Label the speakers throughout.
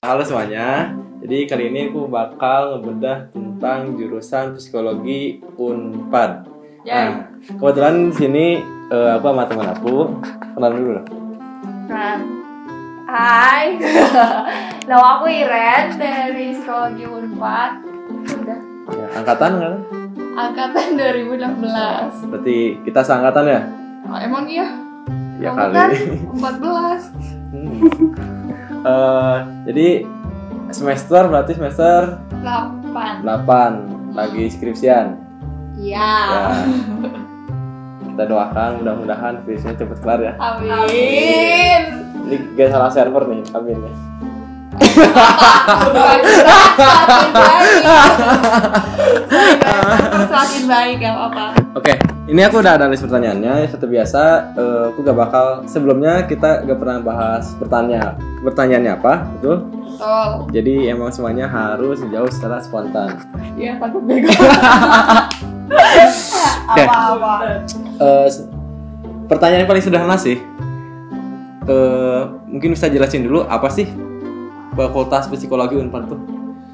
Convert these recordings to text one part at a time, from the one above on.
Speaker 1: Halo semuanya. Jadi kali ini aku bakal ngebedah tentang jurusan psikologi Unpad.
Speaker 2: Ya,
Speaker 1: Nah, kebetulan di sini eh, aku sama teman aku kenalan dulu lah.
Speaker 2: nah. Hai. Nama aku Iren dari Psikologi Unpad. Udah
Speaker 1: Ya, angkatan kan?
Speaker 2: angkatan 2016.
Speaker 1: Berarti kita seangkatan ya?
Speaker 2: Oh, emang iya?
Speaker 1: Ya
Speaker 2: Kamu
Speaker 1: kali.
Speaker 2: Kan 14.
Speaker 1: Hmm. Eh, jadi semester berarti semester
Speaker 2: 8.
Speaker 1: 8 lagi skripsian.
Speaker 2: Iya.
Speaker 1: Ya. Kita doakan mudah-mudahan skripsinya cepet kelar ya.
Speaker 2: Amin.
Speaker 1: Amin. Ini gak salah server nih, amin ya.
Speaker 2: Bukan semakin baik. Semakin baik gak apa-apa.
Speaker 1: Oke, ini aku udah ada list pertanyaannya. Seperti biasa, eh, aku gak bakal sebelumnya kita gak pernah bahas pertanyaan pertanyaannya apa, betul?
Speaker 2: Betul.
Speaker 1: Jadi emang semuanya harus dijawab secara spontan.
Speaker 2: Iya, takut bego.
Speaker 1: Oke.
Speaker 2: Apa-apa.
Speaker 1: Eh, s- pertanyaan paling sederhana sih. Eh, mungkin bisa jelasin dulu apa sih fakultas psikologi Unpad tuh?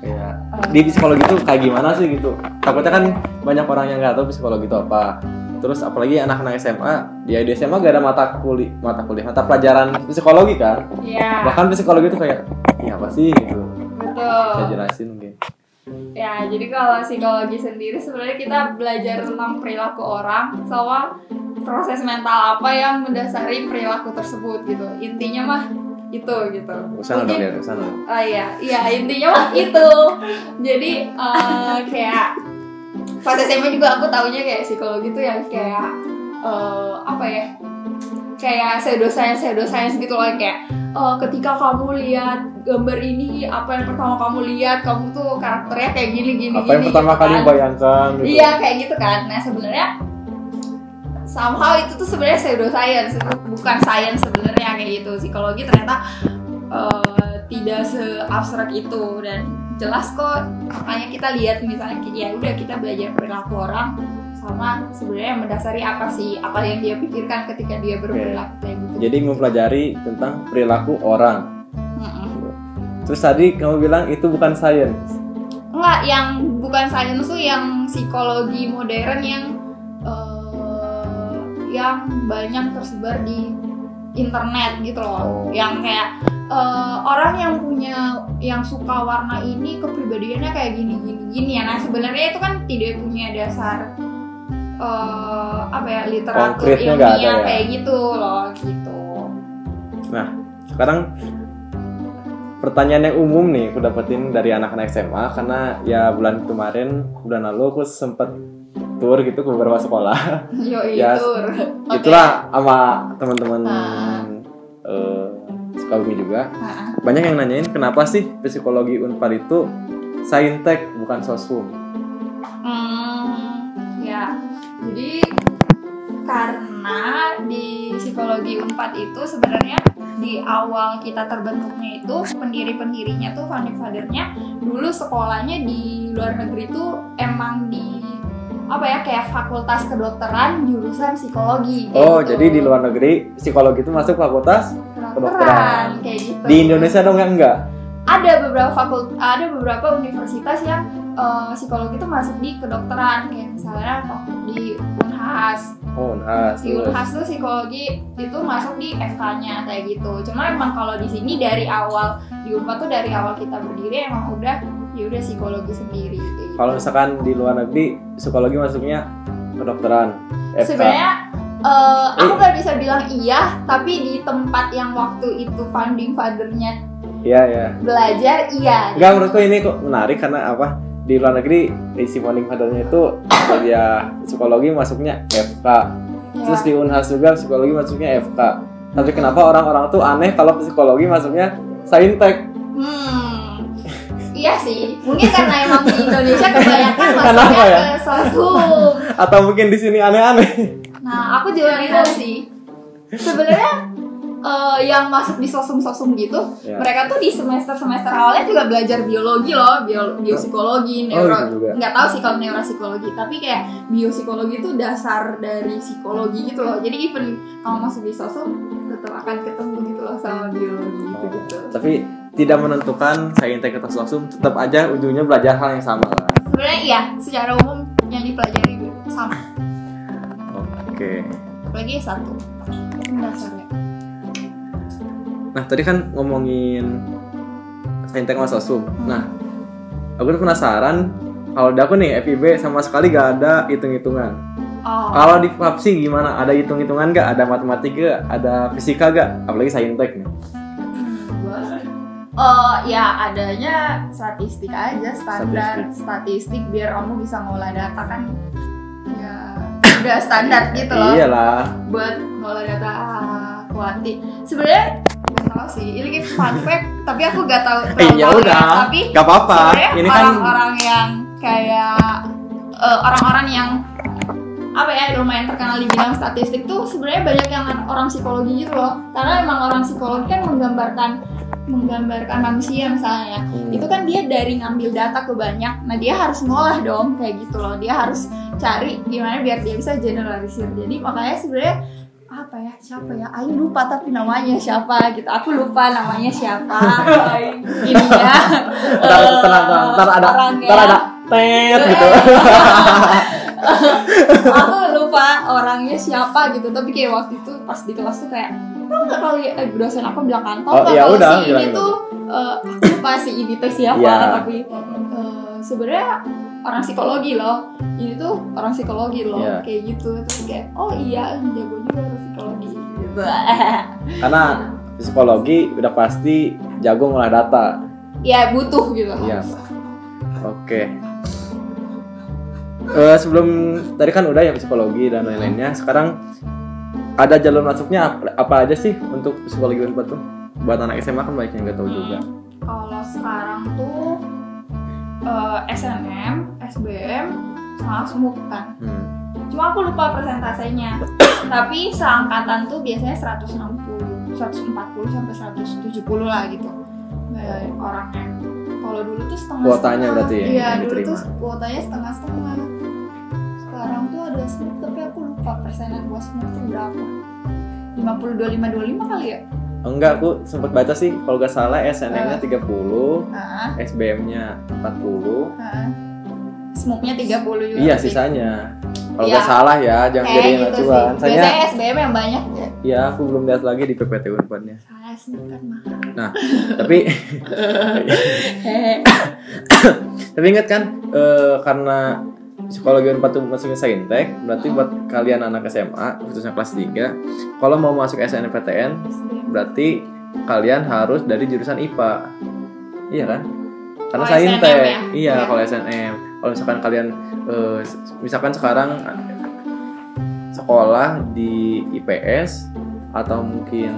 Speaker 1: Kayak di psikologi tuh kayak gimana sih gitu? Takutnya kan banyak orang yang nggak tahu psikologi itu apa. Terus apalagi anak-anak SMA, dia di SMA gak ada mata kuliah, mata kuliah, mata pelajaran psikologi kan?
Speaker 2: Iya,
Speaker 1: Bahkan psikologi itu kayak, ini apa sih
Speaker 2: Oh.
Speaker 1: gitu?
Speaker 2: betul.
Speaker 1: Bisa jelasin mungkin.
Speaker 2: Ya, jadi kalau psikologi sendiri sebenarnya kita belajar tentang perilaku orang sama proses mental apa yang mendasari perilaku tersebut gitu. Intinya mah itu gitu.
Speaker 1: Kesana dong, ya,
Speaker 2: Mungkin-
Speaker 1: lihat kesana.
Speaker 2: Oh iya, iya intinya mah itu. Jadi eh, kayak pas SMA juga aku taunya kayak psikologi tuh yang kayak eh, apa ya? Kayak pseudo science, pseudo science gitu loh kayak eh, ketika kamu lihat gambar ini apa yang pertama kamu lihat kamu tuh karakternya kayak gini gini
Speaker 1: Apa yang
Speaker 2: gini,
Speaker 1: pertama
Speaker 2: gitu
Speaker 1: kali
Speaker 2: kan.
Speaker 1: bayangkan gitu?
Speaker 2: Iya kayak gitu kan. Nah sebenarnya somehow itu tuh sebenarnya pseudo science itu bukan science sebenarnya kayak gitu. Psikologi ternyata eh, tidak seabstrak itu dan jelas kok makanya kita lihat misalnya ya udah kita belajar perilaku orang sama sebenarnya yang mendasari apa sih apa yang dia pikirkan ketika dia berperilaku kayak gitu.
Speaker 1: Jadi mempelajari tentang perilaku orang.
Speaker 2: Mm-mm.
Speaker 1: Terus tadi kamu bilang itu bukan science.
Speaker 2: Enggak, yang bukan science tuh yang psikologi modern yang eh, yang banyak tersebar di internet gitu
Speaker 1: Oh.
Speaker 2: loh. Yang kayak eh, orang yang punya yang suka warna ini kepribadiannya kayak gini gini gini ya. Nah, sebenarnya itu kan tidak punya dasar eh, apa ya literatur
Speaker 1: Konkretnya nggak ada
Speaker 2: ilmiah
Speaker 1: ya?
Speaker 2: kayak gitu loh gitu.
Speaker 1: Sekarang pertanyaan yang umum nih aku dapetin dari anak-anak SMA karena ya bulan kemarin bulan lalu aku sempet tour gitu ke beberapa sekolah.
Speaker 2: Yo
Speaker 1: Ya,
Speaker 2: itu. Oke.
Speaker 1: Itulah sama teman-teman
Speaker 2: Ah.
Speaker 1: eh, Sukabumi juga.
Speaker 2: Ah.
Speaker 1: Banyak yang nanyain kenapa sih psikologi Unpad itu saintek bukan sosum.
Speaker 2: Hmm, ya. Jadi karena di psikologi Unpad itu sebenarnya di awal kita terbentuknya itu pendiri-pendirinya tuh founding fathernya dulu sekolahnya di luar negeri itu emang di apa ya kayak fakultas kedokteran jurusan psikologi kayak
Speaker 1: Oh,
Speaker 2: gitu.
Speaker 1: jadi di luar negeri psikologi itu masuk fakultas kedokteran.
Speaker 2: kedokteran kayak gitu
Speaker 1: di Indonesia dong yang enggak?
Speaker 2: ada beberapa fakult ada beberapa universitas yang eh, psikologi itu masuk di kedokteran kayak misalnya di Unhas
Speaker 1: Oh, nah,
Speaker 2: di Unhas tuh psikologi itu masuk di FK-nya kayak gitu cuma emang kalau di sini dari awal di Unpad tuh dari awal kita berdiri emang udah ya udah psikologi sendiri kayak gitu.
Speaker 1: Kalau misalkan di luar negeri psikologi masuknya kedokteran, FK.
Speaker 2: sebenarnya eh, aku
Speaker 1: Eh.
Speaker 2: gak bisa bilang iya tapi di tempat yang waktu itu founding fathernya
Speaker 1: Iya, iya.
Speaker 2: belajar iya
Speaker 1: Enggak menurutku ini kok menarik karena apa? Di luar negeri isi founding fathernya itu kuliah psikologi masuknya FK.
Speaker 2: Ya.
Speaker 1: Terus di Unhas juga psikologi masuknya FK. Tapi kenapa orang-orang tuh aneh kalau psikologi masuknya saintek?
Speaker 2: Hmm, iya sih. Mungkin karena emang di Indonesia kebanyakan
Speaker 1: Kenapa
Speaker 2: masuknya
Speaker 1: ya?
Speaker 2: ke sosum.
Speaker 1: Atau mungkin di sini aneh-aneh?
Speaker 2: Nah, aku juga gitu sih. Sebenarnya eh, yang masuk di sosum-sosum gitu,
Speaker 1: Ya.
Speaker 2: mereka tuh di semester-semester awalnya juga belajar biologi loh, bio- biopsikologi,
Speaker 1: Oh,
Speaker 2: neuro,
Speaker 1: gitu juga.
Speaker 2: nggak tahu sih kalau neuropsikologi, tapi kayak biopsikologi itu dasar dari psikologi gitu loh. Jadi even kamu masuk di sosum, tetap akan ketemu gitu loh sama biologi gitu gitu.
Speaker 1: Tapi tidak menentukan saya integritas langsung, tetap aja ujungnya belajar hal yang sama lah.
Speaker 2: Sebenarnya iya, secara umum yang dipelajari sama,
Speaker 1: Oke.
Speaker 2: apalagi satu dasarnya.
Speaker 1: Nah tadi kan ngomongin saintek sama sosum. Nah aku tuh penasaran kalau di aku nih FIB sama sekali gak ada hitung-hitungan.
Speaker 2: Oh.
Speaker 1: Kalau di PAPSI gimana? Ada hitung-hitungan gak? Ada matematika? Ada fisika gak? Apalagi saintek nih.
Speaker 2: Oh ya adanya statistik aja standar statistik, biar kamu bisa ngolah data kan ya udah standar gitu loh
Speaker 1: Iya. Iyalah.
Speaker 2: buat ngolah data kuanti sebenarnya nggak tahu sih ini kayak fun fact tapi aku gak tahu
Speaker 1: Eh,
Speaker 2: terlalu
Speaker 1: ya
Speaker 2: tahu
Speaker 1: udah.
Speaker 2: tapi
Speaker 1: Gak apa-apa.
Speaker 2: sebenarnya
Speaker 1: Ini kan
Speaker 2: orang-orang yang kayak eh, orang-orang yang apa ya lumayan terkenal di bidang statistik tuh sebenarnya banyak yang orang psikologi gitu loh karena emang orang psikologi kan menggambarkan menggambarkan manusia misalnya
Speaker 1: Hmm.
Speaker 2: itu kan dia dari ngambil data ke banyak nah dia harus ngolah dong kayak gitu loh dia harus cari gimana biar dia bisa generalisir jadi makanya sebenarnya apa ya siapa ya Ayu lupa tapi namanya siapa gitu aku lupa namanya siapa ini ya
Speaker 1: Ntar, tenang,
Speaker 2: eh,
Speaker 1: tenang. Ntar ada,
Speaker 2: orangnya.
Speaker 1: ntar ada tet gitu.
Speaker 2: aku lupa orangnya siapa gitu tapi kayak waktu itu pas di kelas tuh kayak tau nggak kalau ya, eh, dosen aku bilang kantong
Speaker 1: Oh, iya
Speaker 2: kalau
Speaker 1: udah,
Speaker 2: si ini
Speaker 1: bilang,
Speaker 2: tuh eh, aku lupa si ini teh siapa
Speaker 1: Iya.
Speaker 2: tapi eh, sebenarnya orang psikologi loh ini tuh orang psikologi loh
Speaker 1: Iya.
Speaker 2: kayak gitu terus kayak oh iya jago juga orang psikologi gitu.
Speaker 1: Karena psikologi udah pasti jago ngolah data.
Speaker 2: ya butuh gitu
Speaker 1: Iya. Oke. Eh, sebelum tadi kan udah ya psikologi dan lain-lainnya. Sekarang ada jalur masuknya apa, apa aja sih untuk psikologi unpad tuh? Buat anak SMA kan banyak yang nggak tahu juga.
Speaker 2: Hmm. Kalau sekarang tuh eh, SNM, SBM, sama SMUK kan.
Speaker 1: Hmm.
Speaker 2: Cuma aku lupa persentasenya. Tapi seangkatan tuh biasanya 160, 140 sampai 170 lah gitu. Eh, orangnya. Kalau dulu tuh setengah
Speaker 1: Kuotanya berarti ya,
Speaker 2: Iya,
Speaker 1: yang
Speaker 2: dulu
Speaker 1: diterima.
Speaker 2: tuh kuotanya setengah-setengah. Sekarang tuh ada SMUK tapi aku lupa persenan buat SMUK tuh berapa. 52 525 kali ya?
Speaker 1: Enggak, aku sempat baca sih kalau nggak salah SNM-nya
Speaker 2: Eh.
Speaker 1: 30,
Speaker 2: Heeh,
Speaker 1: SBM-nya 40.
Speaker 2: heeh. SMUK-nya 30 juga.
Speaker 1: Iya,
Speaker 2: sih.
Speaker 1: sisanya. Kalau
Speaker 2: Iya.
Speaker 1: nggak salah ya, jangan jadi
Speaker 2: Kayak
Speaker 1: yang
Speaker 2: gitu
Speaker 1: acuan.
Speaker 2: sih.
Speaker 1: Saya
Speaker 2: Biasanya SBM yang banyak ya.
Speaker 1: ya aku belum lihat lagi di PPT Unpadnya.
Speaker 2: Salah SBM kan mah.
Speaker 1: Tapi Iya Tapi ingat kan eh, karena psikologi unpad itu masuknya saintek, berarti buat kalian anak SMA khususnya kelas 3, kalau mau masuk SNMPTN berarti kalian harus dari jurusan IPA. Iya kan? Karena
Speaker 2: Kalau
Speaker 1: saintek.
Speaker 2: SNM ya?
Speaker 1: Iya,
Speaker 2: Iya.
Speaker 1: kalau SNM. Kalau misalkan kalian eh, s- misalkan sekarang eh, sekolah di IPS atau mungkin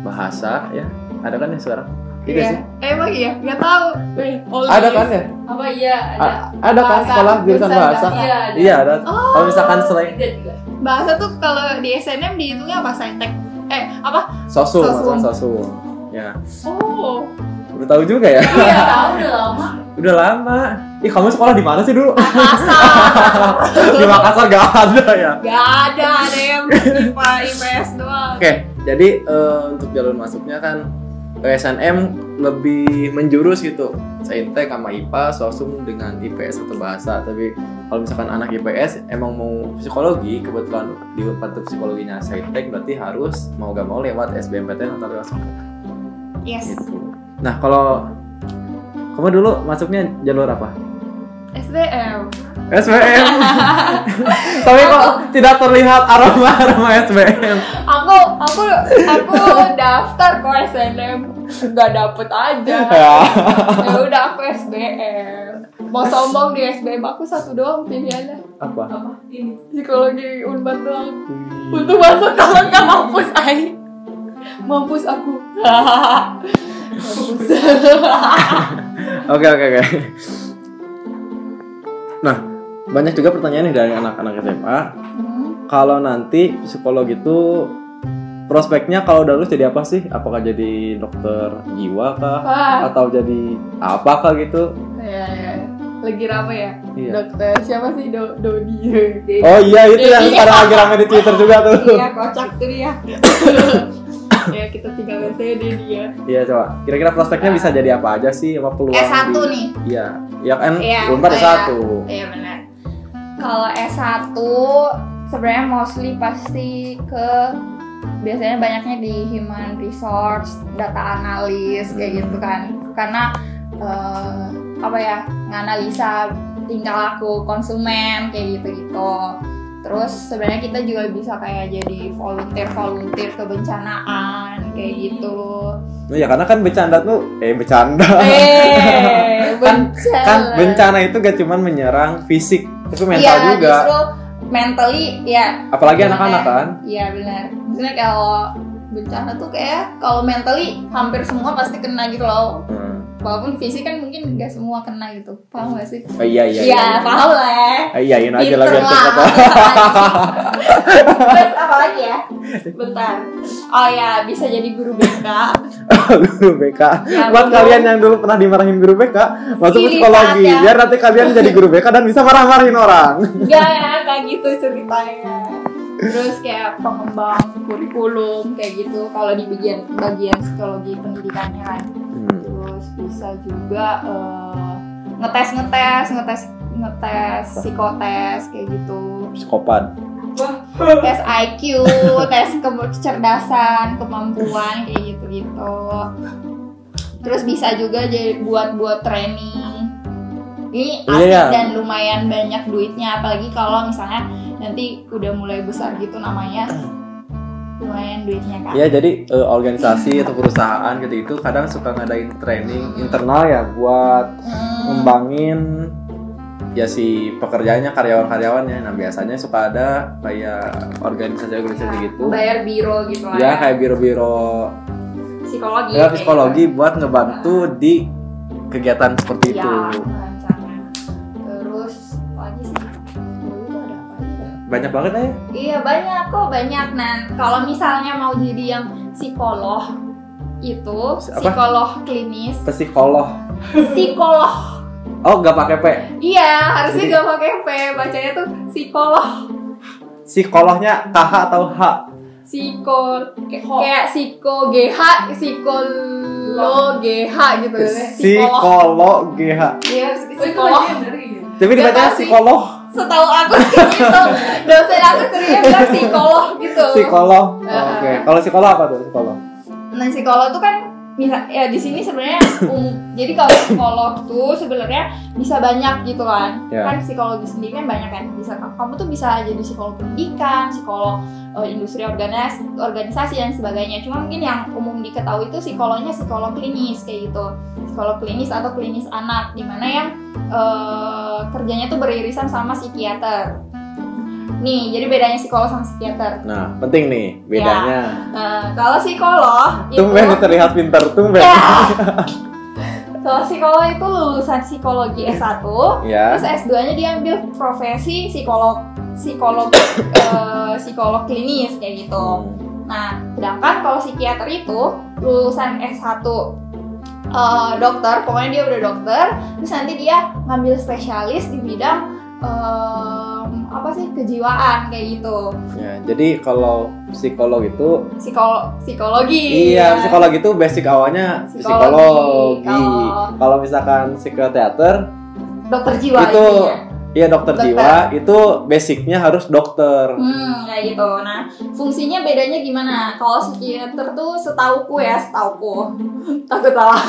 Speaker 1: bahasa ya. Ada kan ya sekarang? Iya
Speaker 2: Iya.
Speaker 1: sih.
Speaker 2: Emang iya, nggak tahu. Eh, all
Speaker 1: Ada
Speaker 2: this.
Speaker 1: kan ya?
Speaker 3: apa iya ada
Speaker 1: A- ada kan
Speaker 2: Bahasa,
Speaker 1: sekolah jurusan
Speaker 2: jurusan
Speaker 1: bahasa?
Speaker 2: bahasa.
Speaker 3: iya ada
Speaker 1: Iya, ada.
Speaker 2: Oh.
Speaker 1: Kalau misalkan selain
Speaker 3: Ada juga.
Speaker 2: Bahasa tuh kalau di SNM dihitungnya apa saintek? Eh, apa?
Speaker 1: sosum,
Speaker 2: Sosum.
Speaker 1: masalah sosum. Ya,
Speaker 2: Oh.
Speaker 1: udah tahu juga ya.
Speaker 3: iya tahu udah lama
Speaker 1: Udah lama. Ih, kamu sekolah di mana sih dulu? di
Speaker 2: Masa.
Speaker 1: Makassar gak ada ya.
Speaker 2: Gak ada, ada yang IPA, IPS doang.
Speaker 1: Oke, jadi eh, untuk jalur masuknya kan ke SNM lebih menjurus gitu. Saintek sama IPA, sosum dengan IPS atau bahasa. Tapi kalau misalkan anak IPS emang mau psikologi, kebetulan di Unpad tuh psikologinya Saintek berarti harus mau gak mau lewat SBMPTN atau lewat
Speaker 2: Yes.
Speaker 1: gitu. Nah kalau kamu dulu masuknya jalur apa?
Speaker 2: SBM.
Speaker 1: SBM. Tapi kok tidak terlihat aroma aroma SBM.
Speaker 2: Aku aku aku daftar ke SNM nggak dapet aja. ya udah aku SBM mau sombong di SBM aku satu doang pilihannya
Speaker 1: apa?
Speaker 3: apa ini
Speaker 2: psikologi unpad doang untuk masuk kalau nggak mampus ai mampus aku mampus
Speaker 1: Oke oke oke. Nah banyak juga pertanyaan nih dari anak-anak SMA. Kalau nanti psikolog itu prospeknya kalau udah lulus jadi apa sih? Apakah jadi dokter jiwa kah?
Speaker 2: Wah.
Speaker 1: Atau jadi apakah gitu?
Speaker 2: Iya, iya. Lagi rame ya.
Speaker 1: Iya.
Speaker 2: Dokter siapa sih Do Dodi?
Speaker 1: Oh iya itu yang
Speaker 2: Iya.
Speaker 1: sekarang lagi rame di Twitter juga tuh.
Speaker 2: Iya, kocak tuh dia. ya kita tinggal saja deh dia.
Speaker 1: Iya coba. Kira-kira prospeknya bisa jadi apa aja sih? Apa peluang?
Speaker 2: S1
Speaker 1: di-
Speaker 2: Nah. Eh, nih.
Speaker 1: Iya. Ya kan
Speaker 2: Iya,
Speaker 1: Unpad
Speaker 2: kayak-
Speaker 1: S1.
Speaker 2: Iya benar. Kalau S1 sebenarnya mostly pasti ke biasanya banyaknya di human resource, data analis kayak gitu kan. Karena eh, apa ya, nganalisa tingkah laku konsumen kayak gitu-gitu. Terus sebenarnya kita juga bisa kayak jadi volunteer-volunteer kebencanaan kayak gitu.
Speaker 1: Nah, ya karena kan bercanda tuh eh bercanda.
Speaker 2: Iya, Eh,
Speaker 1: Kan-
Speaker 2: bencana.
Speaker 1: kan bencana itu gak cuman menyerang fisik, tapi mental
Speaker 2: Iya,
Speaker 1: juga.
Speaker 2: justru mentally ya
Speaker 1: Apalagi
Speaker 2: Bener.
Speaker 1: anak-anak kan.
Speaker 2: Iya benar. Maksudnya kalau bencana tuh kayak kalau mentally hampir semua pasti kena gitu loh.
Speaker 1: Hmm.
Speaker 2: Walaupun fisik kan mungkin nggak semua kena gitu. Paham gak sih?
Speaker 1: Oh, iya iya.
Speaker 2: Iya, paham lah. ya.
Speaker 1: Ah, Iyain aja
Speaker 2: Pinter
Speaker 1: lah
Speaker 2: lah.
Speaker 1: biar cepet.
Speaker 2: Terus apa lagi ya? Bentar. Oh ya, bisa jadi guru BK.
Speaker 1: guru BK.
Speaker 2: Ya,
Speaker 1: Buat
Speaker 2: betul.
Speaker 1: kalian yang dulu pernah dimarahin guru BK, masuk
Speaker 2: Silih
Speaker 1: psikologi
Speaker 2: saatnya.
Speaker 1: biar nanti kalian jadi guru BK dan bisa marah-marahin orang.
Speaker 2: Enggak ya, kayak gitu ceritanya. Terus kayak pengembang kurikulum kayak gitu kalau di bagian bagian psikologi pendidikannya kan.
Speaker 1: Hmm.
Speaker 2: terus bisa juga eh, ngetes ngetes ngetes ngetes psikotes kayak gitu
Speaker 1: Psikopat.
Speaker 2: tes IQ tes ke- kecerdasan kemampuan kayak gitu gitu terus bisa juga jadi buat buat training ini asik
Speaker 1: Iya.
Speaker 2: dan lumayan banyak duitnya apalagi kalau misalnya nanti udah mulai besar gitu namanya lumayan duitnya kan
Speaker 1: Ya jadi eh, organisasi atau perusahaan gitu itu kadang suka ngadain training internal ya buat
Speaker 2: Hmm.
Speaker 1: ngembangin ya si pekerjaannya karyawan-karyawannya. Nah biasanya suka ada kayak organisasi-organisasi gitu.
Speaker 2: bayar biro gitu lah
Speaker 1: Ya kayak biro-biro
Speaker 2: psikologi
Speaker 1: ya,
Speaker 2: kayak
Speaker 1: psikologi buat ngebantu di kegiatan seperti
Speaker 2: Iya,
Speaker 1: itu.
Speaker 2: rencana. Terus apa lagi sih? Dulu tuh ada apa aja ya?
Speaker 1: Banyak banget ya.
Speaker 2: Iya banyak kok banyak nan. Kalau misalnya mau jadi yang psikolog itu
Speaker 1: Apa?
Speaker 2: psikolog klinis,
Speaker 1: Psikolog.
Speaker 2: psikolog.
Speaker 1: Oh, nggak pakai P.
Speaker 2: Iya harusnya
Speaker 1: Jadi-
Speaker 2: gak pakai p, bacanya tuh psikolog,
Speaker 1: Psikolognya KH atau H?
Speaker 2: psiko kayak psiko gh, psikolog gh gitu deh. Psikolog.
Speaker 1: Psikolog GH.
Speaker 2: Iya
Speaker 3: Oh, itu
Speaker 2: psikolog.
Speaker 3: bagian dari gitu.
Speaker 1: Tapi
Speaker 2: Nggak
Speaker 1: dibacanya
Speaker 2: tahu sih.
Speaker 1: psikolog.
Speaker 2: Setahu aku sih gitu. Dosen aku seringnya bilang psikolog gitu.
Speaker 1: Psikolog. Oh,
Speaker 2: Uh-uh.
Speaker 1: Oke. Kalau psikolog apa tuh psikolog?
Speaker 2: Nah psikolog tuh kan bisa ya di sini sebenarnya umum. Jadi kalau psikolog tuh sebenarnya bisa banyak gitu kan.
Speaker 1: Ya.
Speaker 2: Kan psikologi sendiri kan banyak kan. Bisa kamu tuh bisa jadi psikolog pendidikan, psikolog eh, industri organis organisasi dan sebagainya. Cuma mungkin yang umum diketahui itu psikolognya psikolog klinis kayak gitu. Psikolog klinis atau klinis anak dimana yang eh, kerjanya tuh beririsan sama psikiater. Nih, jadi bedanya psikolog sama psikiater.
Speaker 1: Nah, penting nih bedanya.
Speaker 2: Nah, kalau psikolog Ya. itu
Speaker 1: Tumben terlihat pinter, tumben.
Speaker 2: Ya. Kalau psikolog itu lulusan psikologi S1,
Speaker 1: Ya.
Speaker 2: terus S2-nya dia ambil profesi psikolog psikolog eh, psikolog klinis kayak gitu.
Speaker 1: Hmm.
Speaker 2: Nah, sedangkan kalau psikiater itu lulusan S1 eh, dokter, pokoknya dia udah dokter, terus nanti dia ngambil spesialis di bidang em, apa sih kejiwaan kayak gitu.
Speaker 1: Ya, jadi kalau psikolog itu
Speaker 2: Psikolo psikologi.
Speaker 1: iya, psikolog itu basic awalnya
Speaker 2: Psikologi. oh.
Speaker 1: psikologi.
Speaker 2: Kalau-
Speaker 1: Kalau misalkan psikoteater
Speaker 2: Dokter jiwa
Speaker 1: itu
Speaker 2: intinya.
Speaker 1: iya dokter,
Speaker 2: Dokter.
Speaker 1: jiwa itu basicnya harus dokter.
Speaker 2: Hmm, kayak gitu. Nah, fungsinya bedanya gimana? Kalau psikiater tuh setauku ya, setauku. Takut salah.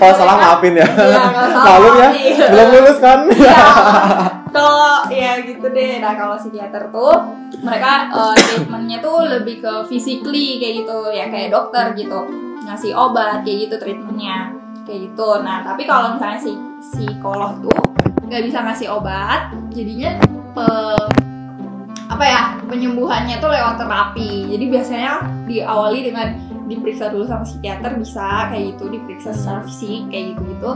Speaker 1: Kalau salah maafin ya.
Speaker 2: Iya, kalau salah.
Speaker 1: Malu ya?
Speaker 2: iya.
Speaker 1: Belum lulus kan?
Speaker 2: Iya. Kalau ya gitu deh. Nah, kalau psikiater tuh mereka eh, treatmentnya tuh lebih ke physically kayak gitu ya kayak dokter gitu ngasih obat kayak gitu treatmentnya kayak gitu nah tapi kalau misalnya si psikolog tuh nggak bisa ngasih obat jadinya pe- apa ya penyembuhannya tuh lewat terapi jadi biasanya diawali dengan diperiksa dulu sama psikiater bisa kayak gitu diperiksa secara fisik kayak gitu gitu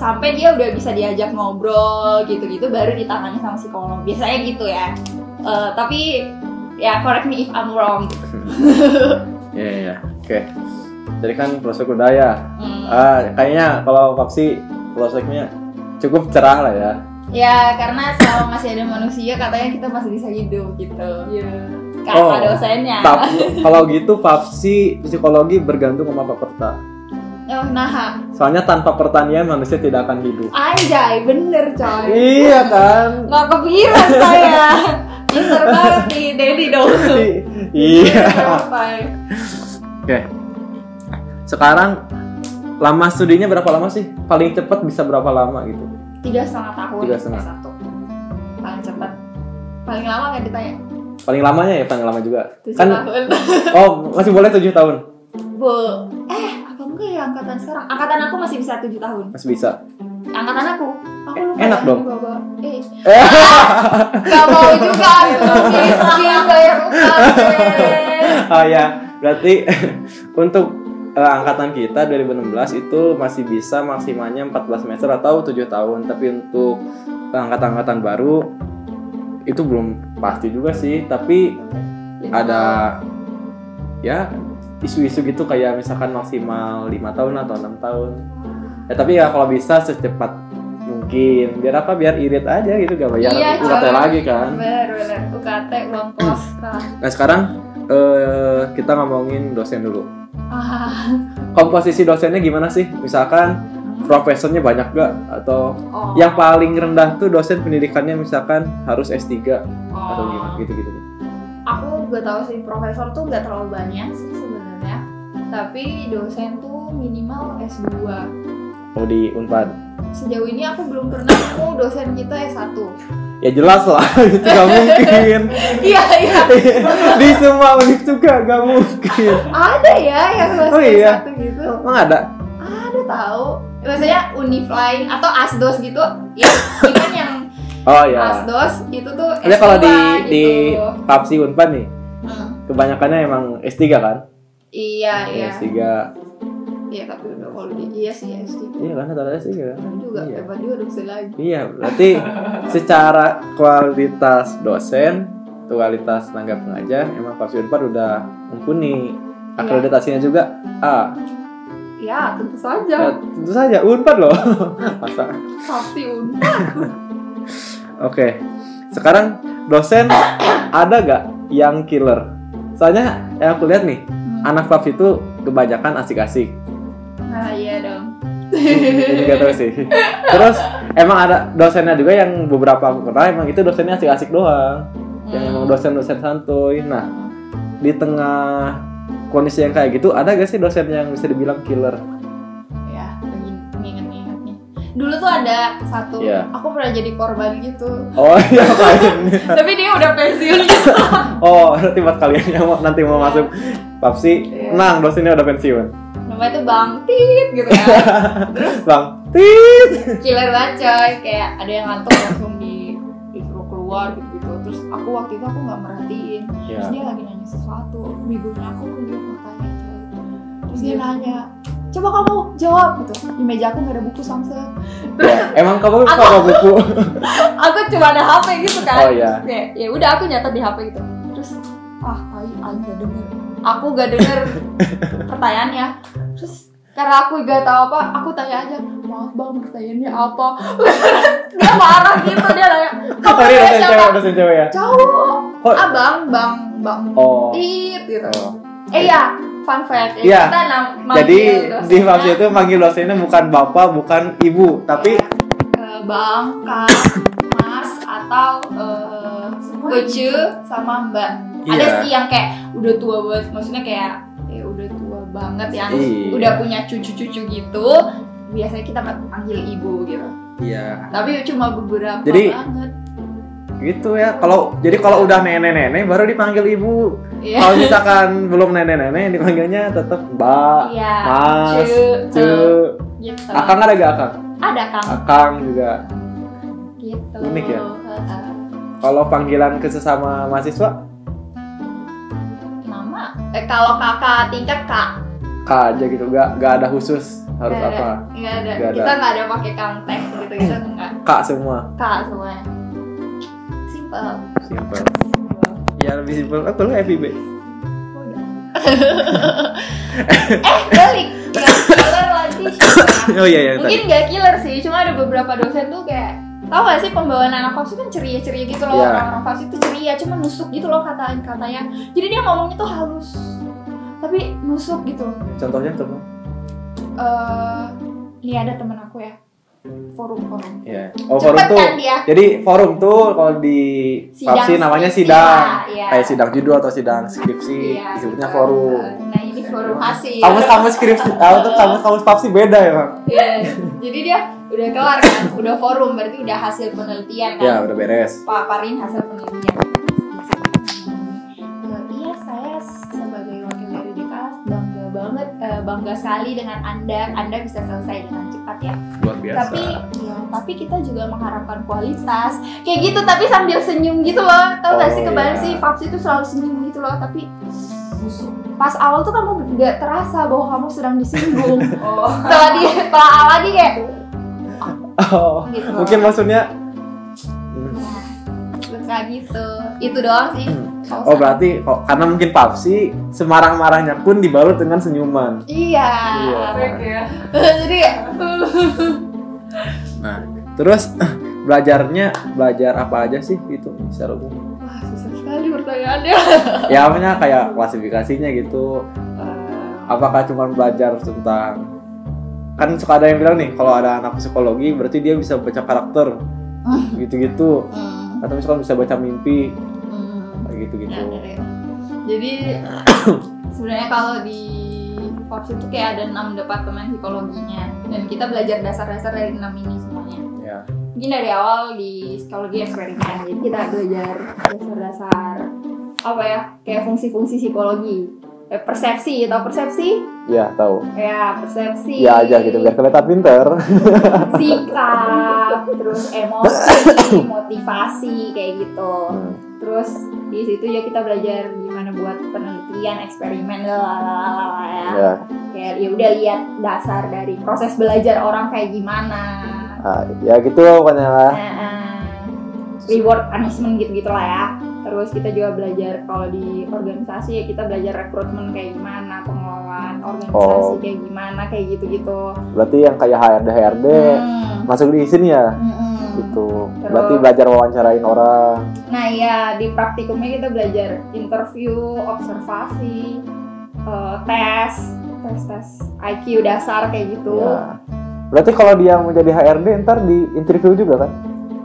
Speaker 2: sampai dia udah bisa diajak ngobrol gitu gitu baru ditangani sama psikolog biasanya gitu ya Eh, tapi ya correct me if I'm wrong gitu.
Speaker 1: Iya, iya, iya. Oke. Jadi kan proses budaya.
Speaker 2: Hmm.
Speaker 1: Ah, kayaknya kalau Papsi prospeknya cukup cerah lah ya.
Speaker 2: Ya karena selama masih ada manusia katanya kita masih bisa hidup gitu.
Speaker 3: Iya.
Speaker 2: Karena
Speaker 1: Oh.
Speaker 2: ada dosennya.
Speaker 1: Tap, kalau gitu Papsi psikologi bergantung sama peperta.
Speaker 2: Oh, nah,
Speaker 1: Soalnya tanpa pertanian manusia tidak akan hidup.
Speaker 2: anjay, bener coy.
Speaker 1: Iya kan?
Speaker 2: Nggak kepikiran saya. Pinter banget nih, Dedi dong.
Speaker 1: I- iya.
Speaker 2: Sampai.
Speaker 1: Oke. Sekarang lama studinya berapa lama sih? Paling cepat bisa berapa lama gitu?
Speaker 2: Tiga setengah tahun.
Speaker 1: Tiga setengah.
Speaker 2: Satu. Paling cepat. Paling lama nggak ditanya?
Speaker 1: Paling lamanya ya paling lama juga.
Speaker 2: Tujuh
Speaker 1: Kan
Speaker 2: tahun.
Speaker 1: oh masih boleh tujuh tahun.
Speaker 2: Bu, eh apa enggak ya angkatan sekarang? Angkatan aku masih bisa tujuh tahun.
Speaker 1: Masih bisa.
Speaker 2: Angkatan aku. Aku
Speaker 1: Eh,
Speaker 2: lupa.
Speaker 1: enak
Speaker 2: ya,
Speaker 1: dong.
Speaker 2: dibawa-bawa. Eh, Gak mau juga gitu Miskin bayar utang deh.
Speaker 1: Oh ya, berarti untuk eh, angkatan kita 2016 itu masih bisa maksimalnya 14 semester atau 7 tahun. Tapi untuk angkatan-angkatan baru itu belum pasti juga sih, tapi ada ya isu-isu gitu kayak misalkan maksimal lima tahun atau enam tahun ya tapi ya kalau bisa secepat mungkin biar apa biar irit aja gitu gak bayar
Speaker 2: Iya,
Speaker 1: UKT
Speaker 2: coy.
Speaker 1: lagi kan
Speaker 2: Bener bener UKT uang kos kan
Speaker 1: nah sekarang eh, kita ngomongin dosen dulu
Speaker 2: ah,
Speaker 1: komposisi dosennya gimana sih misalkan profesornya banyak gak atau
Speaker 2: oh,
Speaker 1: yang paling rendah tuh dosen pendidikannya misalkan harus S3 atau gimana
Speaker 2: oh.
Speaker 1: gitu gitu
Speaker 2: Aku gue tahu sih profesor tuh nggak terlalu banyak sih sebenarnya tapi dosen tuh minimal S2
Speaker 1: oh di Unpad
Speaker 2: Sejauh ini aku belum pernah ketemu dosen kita S1
Speaker 1: ya jelas lah itu gak mungkin
Speaker 2: Iya iya
Speaker 1: di semua univ juga gak mungkin
Speaker 2: Ada ya yang dosen
Speaker 1: iya. Oh, iya.
Speaker 2: S1 gitu
Speaker 1: emang ada
Speaker 2: Ada tahu Maksudnya univ lain atau asdos gitu Ya kita yang
Speaker 1: oh ya
Speaker 2: asdos itu tuh
Speaker 1: Ada kalau di
Speaker 2: S2
Speaker 1: di
Speaker 2: gitu.
Speaker 1: Papsi Unpad nih
Speaker 2: Hmm.
Speaker 1: kebanyakannya emang S3 kan
Speaker 2: Iya, iya.
Speaker 1: S3
Speaker 2: Iya, tapi udah kalau di iya sih SD
Speaker 1: iya kan ada S3 kan
Speaker 2: juga
Speaker 1: Iya.
Speaker 2: hebat juga dosen lagi.
Speaker 1: iya berarti secara kualitas dosen kualitas tenaga pengajar emang Papsi Unpad udah mumpuni akreditasinya juga A
Speaker 2: Ya, tentu
Speaker 1: Ya,
Speaker 2: saja.
Speaker 1: tentu saja Unpad loh masa
Speaker 2: Pasti un.
Speaker 1: Oke, sekarang dosen ada gak yang killer? Soalnya yang aku lihat nih, anak pap itu kebanyakan asik-asik.
Speaker 2: Nah, iya dong.
Speaker 1: Ini gak tau sih. Terus emang ada dosennya juga yang beberapa aku kenal emang itu dosennya asik-asik doang.
Speaker 2: Hmm.
Speaker 1: Yang emang dosen-dosen santuy. Nah, di tengah kondisi yang kayak gitu, ada gak sih dosen yang bisa dibilang killer?
Speaker 2: Ya, lagi nginget-nginget nih. Dulu tuh ada satu,
Speaker 1: Iya.
Speaker 2: aku pernah jadi korban gitu.
Speaker 1: Oh iya kalian.
Speaker 2: Tapi dia udah pensiun gitu.
Speaker 1: Oh berarti buat kalian yang mau- nanti mau masuk papsi,
Speaker 2: Iya.
Speaker 1: nang dosennya udah pensiun.
Speaker 2: Namanya tuh Bang Tit gitu kan.
Speaker 1: Bang, tit.
Speaker 2: Killer banget coy. Kayak ada yang ngantuk langsung di disuruh keluar gitu-gitu. Terus aku waktu itu aku nggak merhatiin.
Speaker 1: Ya.
Speaker 2: Terus dia lagi nanya sesuatu, begonya aku ke dia bertanya coy. Terus dia nanya, coba kamu jawab gitu. Di meja aku gak ada buku Samsung.
Speaker 1: Ya, Emang kamu lupa bawa buku?
Speaker 2: Aku cuma ada HP gitu kan.
Speaker 1: Oh, iya.
Speaker 2: Terus kayak, ya udah aku nyatet di HP gitu. Terus ah tai, aku gak denger. Aku gak denger pertanyaannya. Terus karena aku gak tahu apa, aku tanya aja, maaf bang pertanyaannya apa? dia marah gitu dia nanya,
Speaker 1: Oh,
Speaker 2: kamu
Speaker 1: Tadi
Speaker 2: nanya
Speaker 1: dosen
Speaker 2: siapa?
Speaker 1: cewek, dosen cewek ya?
Speaker 2: Cowok,
Speaker 1: iya, Oh.
Speaker 2: abang, bang, bang,
Speaker 1: Oh.
Speaker 2: tit gitu.
Speaker 1: Oh.
Speaker 2: Eh ya, fun fact. Ya,
Speaker 1: Iya.
Speaker 2: Kita nam- manggil
Speaker 1: Jadi di
Speaker 2: dosennya,
Speaker 1: Fabsi itu manggil dosennya bukan bapak, bukan ibu, tapi
Speaker 2: eh, Bang, Kak, Mas atau eh Ece sama Mbak. Ada
Speaker 1: Iya.
Speaker 2: sih yang kayak udah tua banget, maksudnya kayak ya udah tua banget yang
Speaker 1: Iya.
Speaker 2: udah punya cucu-cucu gitu. Biasanya kita panggil ibu gitu.
Speaker 1: Iya.
Speaker 2: Tapi cuma beberapa
Speaker 1: Jadi-
Speaker 2: banget.
Speaker 1: Gitu ya. Kalau jadi kalau udah nenek-nenek baru dipanggil ibu.
Speaker 2: Iya.
Speaker 1: Kalau misalkan belum nenek-nenek dipanggilnya tetap Mbak,
Speaker 2: Iya.
Speaker 1: Mas,
Speaker 2: Cu,
Speaker 1: Ce.
Speaker 2: eh, gitu.
Speaker 1: Akang ada gak Akang?
Speaker 2: Ada Kang
Speaker 1: Akang juga.
Speaker 2: gitu.
Speaker 1: Ah,
Speaker 2: Eh,
Speaker 1: Unik ya?
Speaker 2: Heeh.
Speaker 1: Kalau panggilan ke sesama mahasiswa,
Speaker 2: Nama eh, kalau kakak tingkat Kak
Speaker 1: Kak aja gitu, gak, gak ada khusus harus
Speaker 2: Nggak
Speaker 1: apa.
Speaker 2: ada, nggak ada.
Speaker 1: Nggak ada.
Speaker 2: kita nggak ada pakai kangtek gitu kita nggak ya?
Speaker 1: Kak semua.
Speaker 2: kak semuanya simple
Speaker 1: Simpel. Ya ya lebih simpel apa lu FIB
Speaker 2: eh balik nggak killer lagi
Speaker 1: oh iya iya
Speaker 2: mungkin
Speaker 1: tadi
Speaker 2: nggak killer sih cuma ada beberapa dosen tuh kayak tau gak sih pembawaan anak Fapsi kan ceria-ceria gitu loh
Speaker 1: Iya.
Speaker 2: orang-orang Fapsi tuh ceria cuma nusuk gitu loh katain katanya jadi dia ngomongnya tuh halus tapi nusuk gitu
Speaker 1: contohnya contoh
Speaker 2: Eh, ini ada temen aku ya forum forum
Speaker 1: Iya. oh forum
Speaker 2: Cepet
Speaker 1: tuh
Speaker 2: kan dia
Speaker 1: jadi forum tuh kalau di
Speaker 2: Sidang
Speaker 1: Papsi namanya
Speaker 2: skripsi
Speaker 1: sidang
Speaker 2: lah, iya.
Speaker 1: kayak sidang judul atau sidang skripsi
Speaker 2: Iya,
Speaker 1: disebutnya
Speaker 2: gitu.
Speaker 1: forum
Speaker 2: nah ini forum hasil
Speaker 1: kamus kamus skripsi kamu tuh kamus kamus Papsi beda ya bang
Speaker 2: Iya, jadi dia udah kelar kan udah forum berarti udah hasil penelitian kan
Speaker 1: ya udah beres
Speaker 2: paparin hasil penelitian. Eh, Iya, saya sebagai wakil dari DKS bangga banget, eh, bangga sekali dengan Anda. Anda bisa selesai dengan cepat ya.
Speaker 1: luar
Speaker 2: Tapi, ya, tapi kita juga mengharapkan kualitas. Kayak gitu, tapi sambil senyum gitu loh. Tahu nggak
Speaker 1: Oh,
Speaker 2: sih kebayang
Speaker 1: iya.
Speaker 2: sih, Papsi itu selalu senyum gitu loh. Tapi pas awal tuh kamu nggak terasa bahwa kamu sedang disinggung.
Speaker 3: Oh.
Speaker 2: Setelah di, setelah lagi kayak
Speaker 1: oh,
Speaker 2: gitu.
Speaker 1: mungkin maksudnya Hmm.
Speaker 2: Nah, kayak gitu. Itu doang sih. Kalau
Speaker 1: Oh
Speaker 2: saya-
Speaker 1: berarti kok karena mungkin Papsi semarah-marahnya pun dibalut dengan senyuman.
Speaker 2: Iya.
Speaker 1: Iya.
Speaker 3: Baik ya.
Speaker 2: Jadi
Speaker 1: Nah, terus belajarnya belajar apa aja sih itu secara umum?
Speaker 2: wah susah sekali pertanyaannya.
Speaker 1: Ya apanya kayak klasifikasinya gitu. Apakah cuma belajar tentang kan suka ada yang bilang nih kalau ada anak psikologi berarti dia bisa baca karakter gitu-gitu
Speaker 2: Hmm,
Speaker 1: atau misalkan bisa baca mimpi
Speaker 2: hmm.
Speaker 1: kayak
Speaker 2: Ya,
Speaker 1: gitu-gitu.
Speaker 2: ya, ya. Jadi sebenarnya kalau di Forbes itu kayak ada enam departemen psikologinya dan kita belajar dasar-dasar dari enam ini semuanya.
Speaker 1: Ya.
Speaker 2: Mungkin dari awal di psikologi eksperimen, jadi kita belajar dasar-dasar apa ya kayak fungsi-fungsi psikologi, Eh, persepsi atau persepsi,
Speaker 1: Ya, tahu.
Speaker 2: ya persepsi.
Speaker 1: Ya aja gitu biar kelihatan pinter.
Speaker 2: sikap, terus emosi, motivasi kayak gitu. Terus di situ ya kita belajar gimana buat penelitian, eksperimen, lalalala ya.
Speaker 1: Ya.
Speaker 2: Kayak ya udah lihat dasar dari proses belajar orang kayak gimana.
Speaker 1: Ah, ya gitu loh pokoknya lah.
Speaker 2: Eh, eh, reward punishment gitu-gitu lah ya. Terus kita juga belajar kalau di organisasi ya kita belajar rekrutmen kayak gimana, pengelolaan
Speaker 1: Oh.
Speaker 2: organisasi kayak gimana, kayak gitu-gitu.
Speaker 1: Berarti yang kayak HRD HRD
Speaker 2: Hmm.
Speaker 1: masuk di sini ya
Speaker 2: Mm-mm.
Speaker 1: gitu.
Speaker 2: Terus.
Speaker 1: Berarti belajar wawancarain orang.
Speaker 2: Nah ya di praktikumnya kita belajar interview, observasi, eh, tes, tes tes IQ dasar kayak gitu.
Speaker 1: Ya. Berarti kalau dia menjadi HRD ntar di interview juga kan?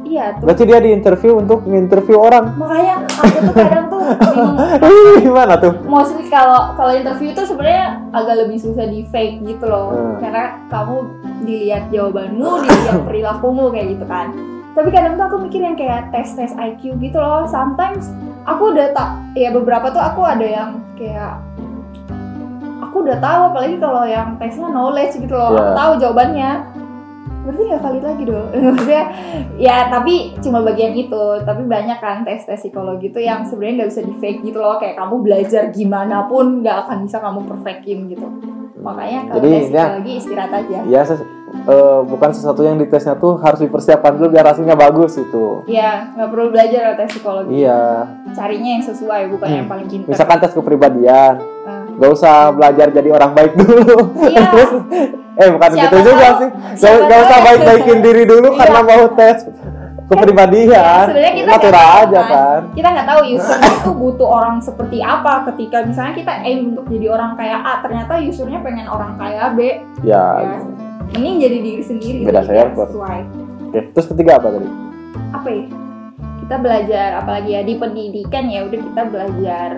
Speaker 2: Iya tuh.
Speaker 1: Berarti dia di interview untuk nginterview orang.
Speaker 2: Makanya aku tuh kadang tuh bingung.
Speaker 1: Ih, Gimana tuh?
Speaker 2: Mostly kalau kalau interview tuh sebenarnya agak lebih susah di fake gitu loh,
Speaker 1: Hmm.
Speaker 2: karena kamu dilihat jawabanmu, dilihat perilakumu kayak gitu kan. Tapi kadang tuh aku mikir yang kayak tes tes IQ gitu loh. Sometimes aku udah tak ya beberapa tuh aku ada yang kayak aku udah tahu apalagi kalau yang tesnya knowledge gitu loh aku
Speaker 1: Iya.
Speaker 2: tahu jawabannya berarti nggak valid lagi dong maksudnya ya tapi cuma bagian itu tapi banyak kan tes tes psikologi itu yang sebenarnya nggak bisa di fake gitu loh kayak kamu belajar gimana pun nggak akan bisa kamu perfectin gitu makanya kalau
Speaker 1: Jadi
Speaker 2: tes
Speaker 1: ya,
Speaker 2: psikologi istirahat aja
Speaker 1: ya ses- eh, bukan sesuatu yang ditesnya tuh harus dipersiapkan dulu biar hasilnya bagus itu.
Speaker 2: ya nggak perlu belajar loh tes psikologi
Speaker 1: Iya.
Speaker 2: carinya yang sesuai bukan yang paling pintar
Speaker 1: Misalkan tes kepribadian,
Speaker 2: Eh.
Speaker 1: gak usah belajar jadi orang baik dulu.
Speaker 2: Iya.
Speaker 1: Terus, eh bukan
Speaker 2: Siapa
Speaker 1: gitu juga
Speaker 2: tahu-
Speaker 1: sih. Gak,
Speaker 2: siapa
Speaker 1: gak usah
Speaker 2: tahu-
Speaker 1: baik-baikin diri dulu
Speaker 2: Iya.
Speaker 1: karena mau tes
Speaker 2: Ya,
Speaker 1: kepribadian.
Speaker 2: sebenarnya kita
Speaker 1: Natural
Speaker 2: nggak tahu
Speaker 1: aja
Speaker 2: kan.
Speaker 1: kan.
Speaker 2: kita nggak tahu user itu butuh orang seperti apa ketika misalnya kita aim untuk jadi orang kaya A ternyata usernya pengen orang kaya B
Speaker 1: Ya.
Speaker 2: Ya. mending jadi diri sendiri
Speaker 1: Beda
Speaker 2: jadi yang
Speaker 1: server.
Speaker 2: sesuai
Speaker 1: Oke, terus ketiga apa tadi?
Speaker 2: apa ya kita belajar apalagi ya di pendidikan ya udah kita belajar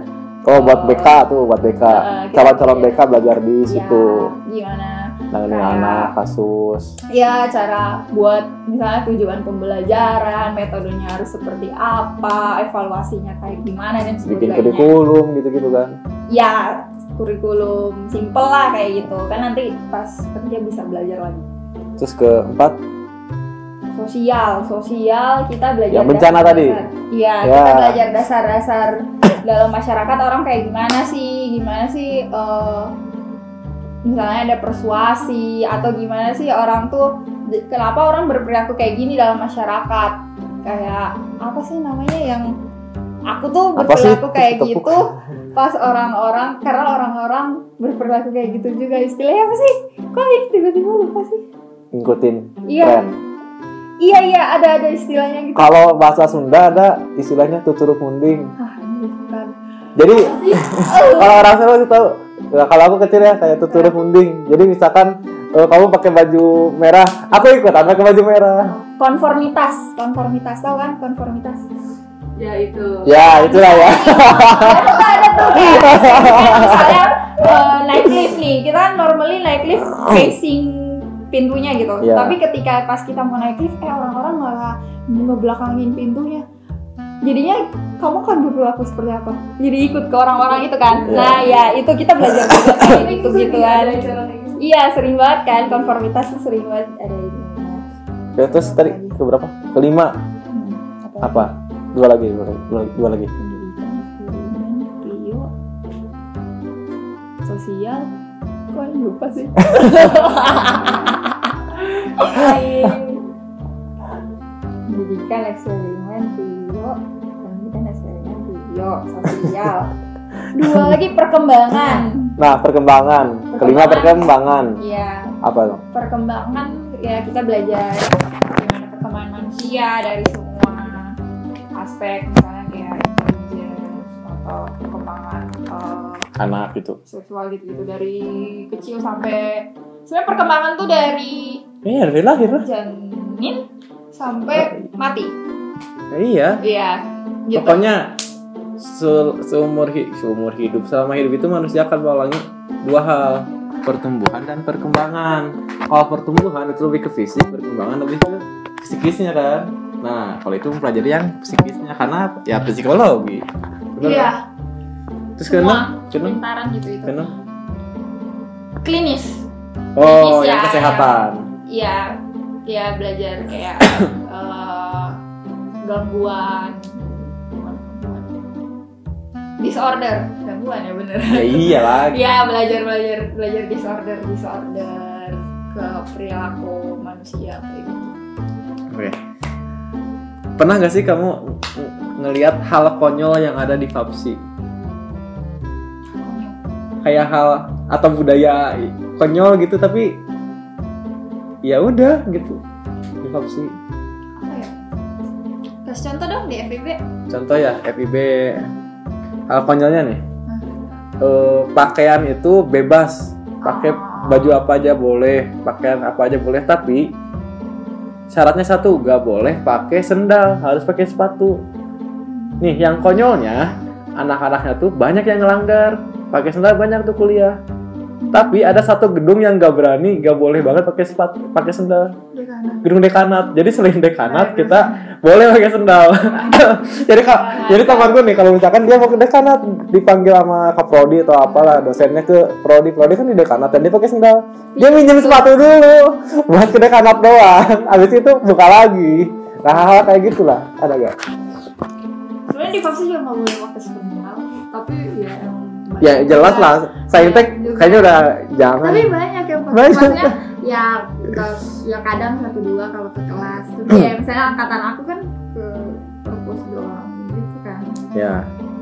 Speaker 1: Oh, buat
Speaker 2: Oh.
Speaker 1: BK tuh, buat BK.
Speaker 2: eh, kita
Speaker 1: Calon-calon
Speaker 2: belajar,
Speaker 1: BK belajar Nah, di situ.
Speaker 2: ya, gimana
Speaker 1: Nangani
Speaker 2: Kayak-
Speaker 1: anak, kasus.
Speaker 2: ya cara buat misalnya tujuan pembelajaran metodenya harus seperti apa evaluasinya kayak gimana dan
Speaker 1: Bikin
Speaker 2: sebagainya
Speaker 1: kurikulum gitu-gitu kan.
Speaker 2: ya kurikulum simple lah kayak gitu kan nanti pas kerja bisa belajar lagi
Speaker 1: Terus keempat,
Speaker 2: sosial sosial kita belajar
Speaker 1: Yang Ya, bencana
Speaker 2: dasar-
Speaker 1: tadi.
Speaker 2: iya
Speaker 1: Ya.
Speaker 2: kita belajar dasar-dasar dalam masyarakat orang kayak gimana sih gimana sih eh, misalnya ada persuasi atau gimana sih orang tuh d- kenapa orang berperilaku kayak gini dalam masyarakat kayak apa sih namanya yang aku tuh
Speaker 1: Apa sih
Speaker 2: berperilaku kayak
Speaker 1: tepuk-tepuk?
Speaker 2: gitu pas orang-orang karena orang-orang berperilaku kayak gitu juga istilahnya apa sih kok ini tiba-tiba lupa sih
Speaker 1: ngikutin
Speaker 2: iya
Speaker 1: tren.
Speaker 2: iya iya ada ada istilahnya gitu
Speaker 1: Kalau bahasa Sunda ada istilahnya tuturuk munding.
Speaker 2: ah ini bukan
Speaker 1: Jadi kalau orang Sunda pasti tahu. Nah, kalau aku kecil ya kayak tuturuk munding. Jadi misalkan eh, kamu pakai baju merah, aku ikutan pakai baju merah.
Speaker 2: konformitas konformitas tau kan konformitas
Speaker 3: ya itu
Speaker 1: Ya itulah ya.
Speaker 2: Baru ada tuh kayak misalnya eh, naik lift nih kita normally naik lift facing pintunya gitu
Speaker 1: Iya.
Speaker 2: tapi ketika pas kita mau naik lift eh orang-orang malah ngebelakangin pintunya jadinya kamu kan berperilaku seperti apa jadi ikut ke orang-orang itu kan
Speaker 1: Iya.
Speaker 2: nah ya itu kita belajar juga kayak gitu gituan
Speaker 3: Ada cara kayak gitu.
Speaker 2: iya sering banget kan konformitas tuh sering banget ada ini
Speaker 1: Ya, Terus tadi keberapa? Kelima
Speaker 2: Hmm, apa
Speaker 1: apa? Dua lagi, dua lagi, dua lagi, dua lagi.
Speaker 2: pendidikan hubungan Rio sosial kok yang lupa sih pendidikan eksperimen Rio pendidikan eksperimen Rio sosial dua lagi perkembangan
Speaker 1: Nah perkembangan, kelima perkembangan
Speaker 2: ya
Speaker 1: apa dong?
Speaker 2: perkembangan ya kita belajar gimana perkembangan manusia dari semua aspek misalnya kayak intelligence atau perkembangan eh,
Speaker 1: Anak gitu.
Speaker 2: seksual gitu-gitu dari kecil sampai sebenarnya perkembangan tuh dari
Speaker 1: Iya dari lahir lah.
Speaker 2: janin sampai mati
Speaker 1: Iya.
Speaker 2: iya gitu
Speaker 1: Pokoknya se- seumur hi- seumur hidup selama hidup itu manusia akan mengalami dua hal pertumbuhan dan perkembangan. Kalau pertumbuhan itu lebih ke fisik, perkembangan lebih ke psikisnya kan. Nah kalau itu mempelajari yang psikisnya karena apa? ya psikologi. Bener kan?
Speaker 2: iya
Speaker 1: Terus karena
Speaker 2: semua
Speaker 1: karena
Speaker 2: kepintaran gitu itu
Speaker 1: karena
Speaker 2: klinis
Speaker 1: oh
Speaker 2: Psikis
Speaker 1: yang
Speaker 2: ya,
Speaker 1: kesehatan.
Speaker 2: iya dia belajar kayak eh, gangguan bukan gangguan. disorder gangguan ya bener
Speaker 1: Ya iya lagi.
Speaker 2: ya belajar belajar belajar disorder disorder ke perilaku manusia kayak gitu
Speaker 1: Oke. Pernah nggak sih kamu ng- ng- ngelihat hal konyol yang ada di Papsi? Kayak hal atau budaya konyol gitu tapi ya udah gitu di Papsi.
Speaker 2: apa ya kasih contoh dong di FIB
Speaker 1: Contoh ya FIB hal konyolnya nih. Eh, pakaian itu bebas. Pakai baju apa aja boleh, pakaian apa aja boleh tapi syaratnya satu, nggak boleh pakai sendal, harus pakai sepatu. Nih, yang konyolnya, anak-anaknya tuh banyak yang ngelanggar. Pakai sendal banyak tuh kuliah. Tapi ada satu gedung yang nggak berani, nggak boleh banget pakai sepatu, pakai sendal. Gedung dekanat. Jadi selain dekanat, kita boleh pakai sendal. jadi kak, jadi temanku nih kalau misalkan dia mau ke dekanat, dipanggil sama kaprodi atau apalah dosennya ke prodi, prodi kan di dekanat dan dia pakai sendal. Dia minjem sepatu dulu buat ke dekanat doang. Abis itu buka lagi. Nah, hal kayak gitulah ada gak?
Speaker 2: sebenarnya di Papsi juga nggak boleh pakai sendal tapi ya emang banyak
Speaker 1: ya jelas
Speaker 2: juga.
Speaker 1: lah saintek kayaknya udah jangan
Speaker 2: tapi banyak yang pakai
Speaker 1: Hmm. Banyak.
Speaker 2: maksudnya ya nggak- ya kadang satu dua kalau ke kelas tapi ya
Speaker 1: Hmm.
Speaker 2: misalnya angkatan aku kan ke perpus doang gitu kan
Speaker 1: ya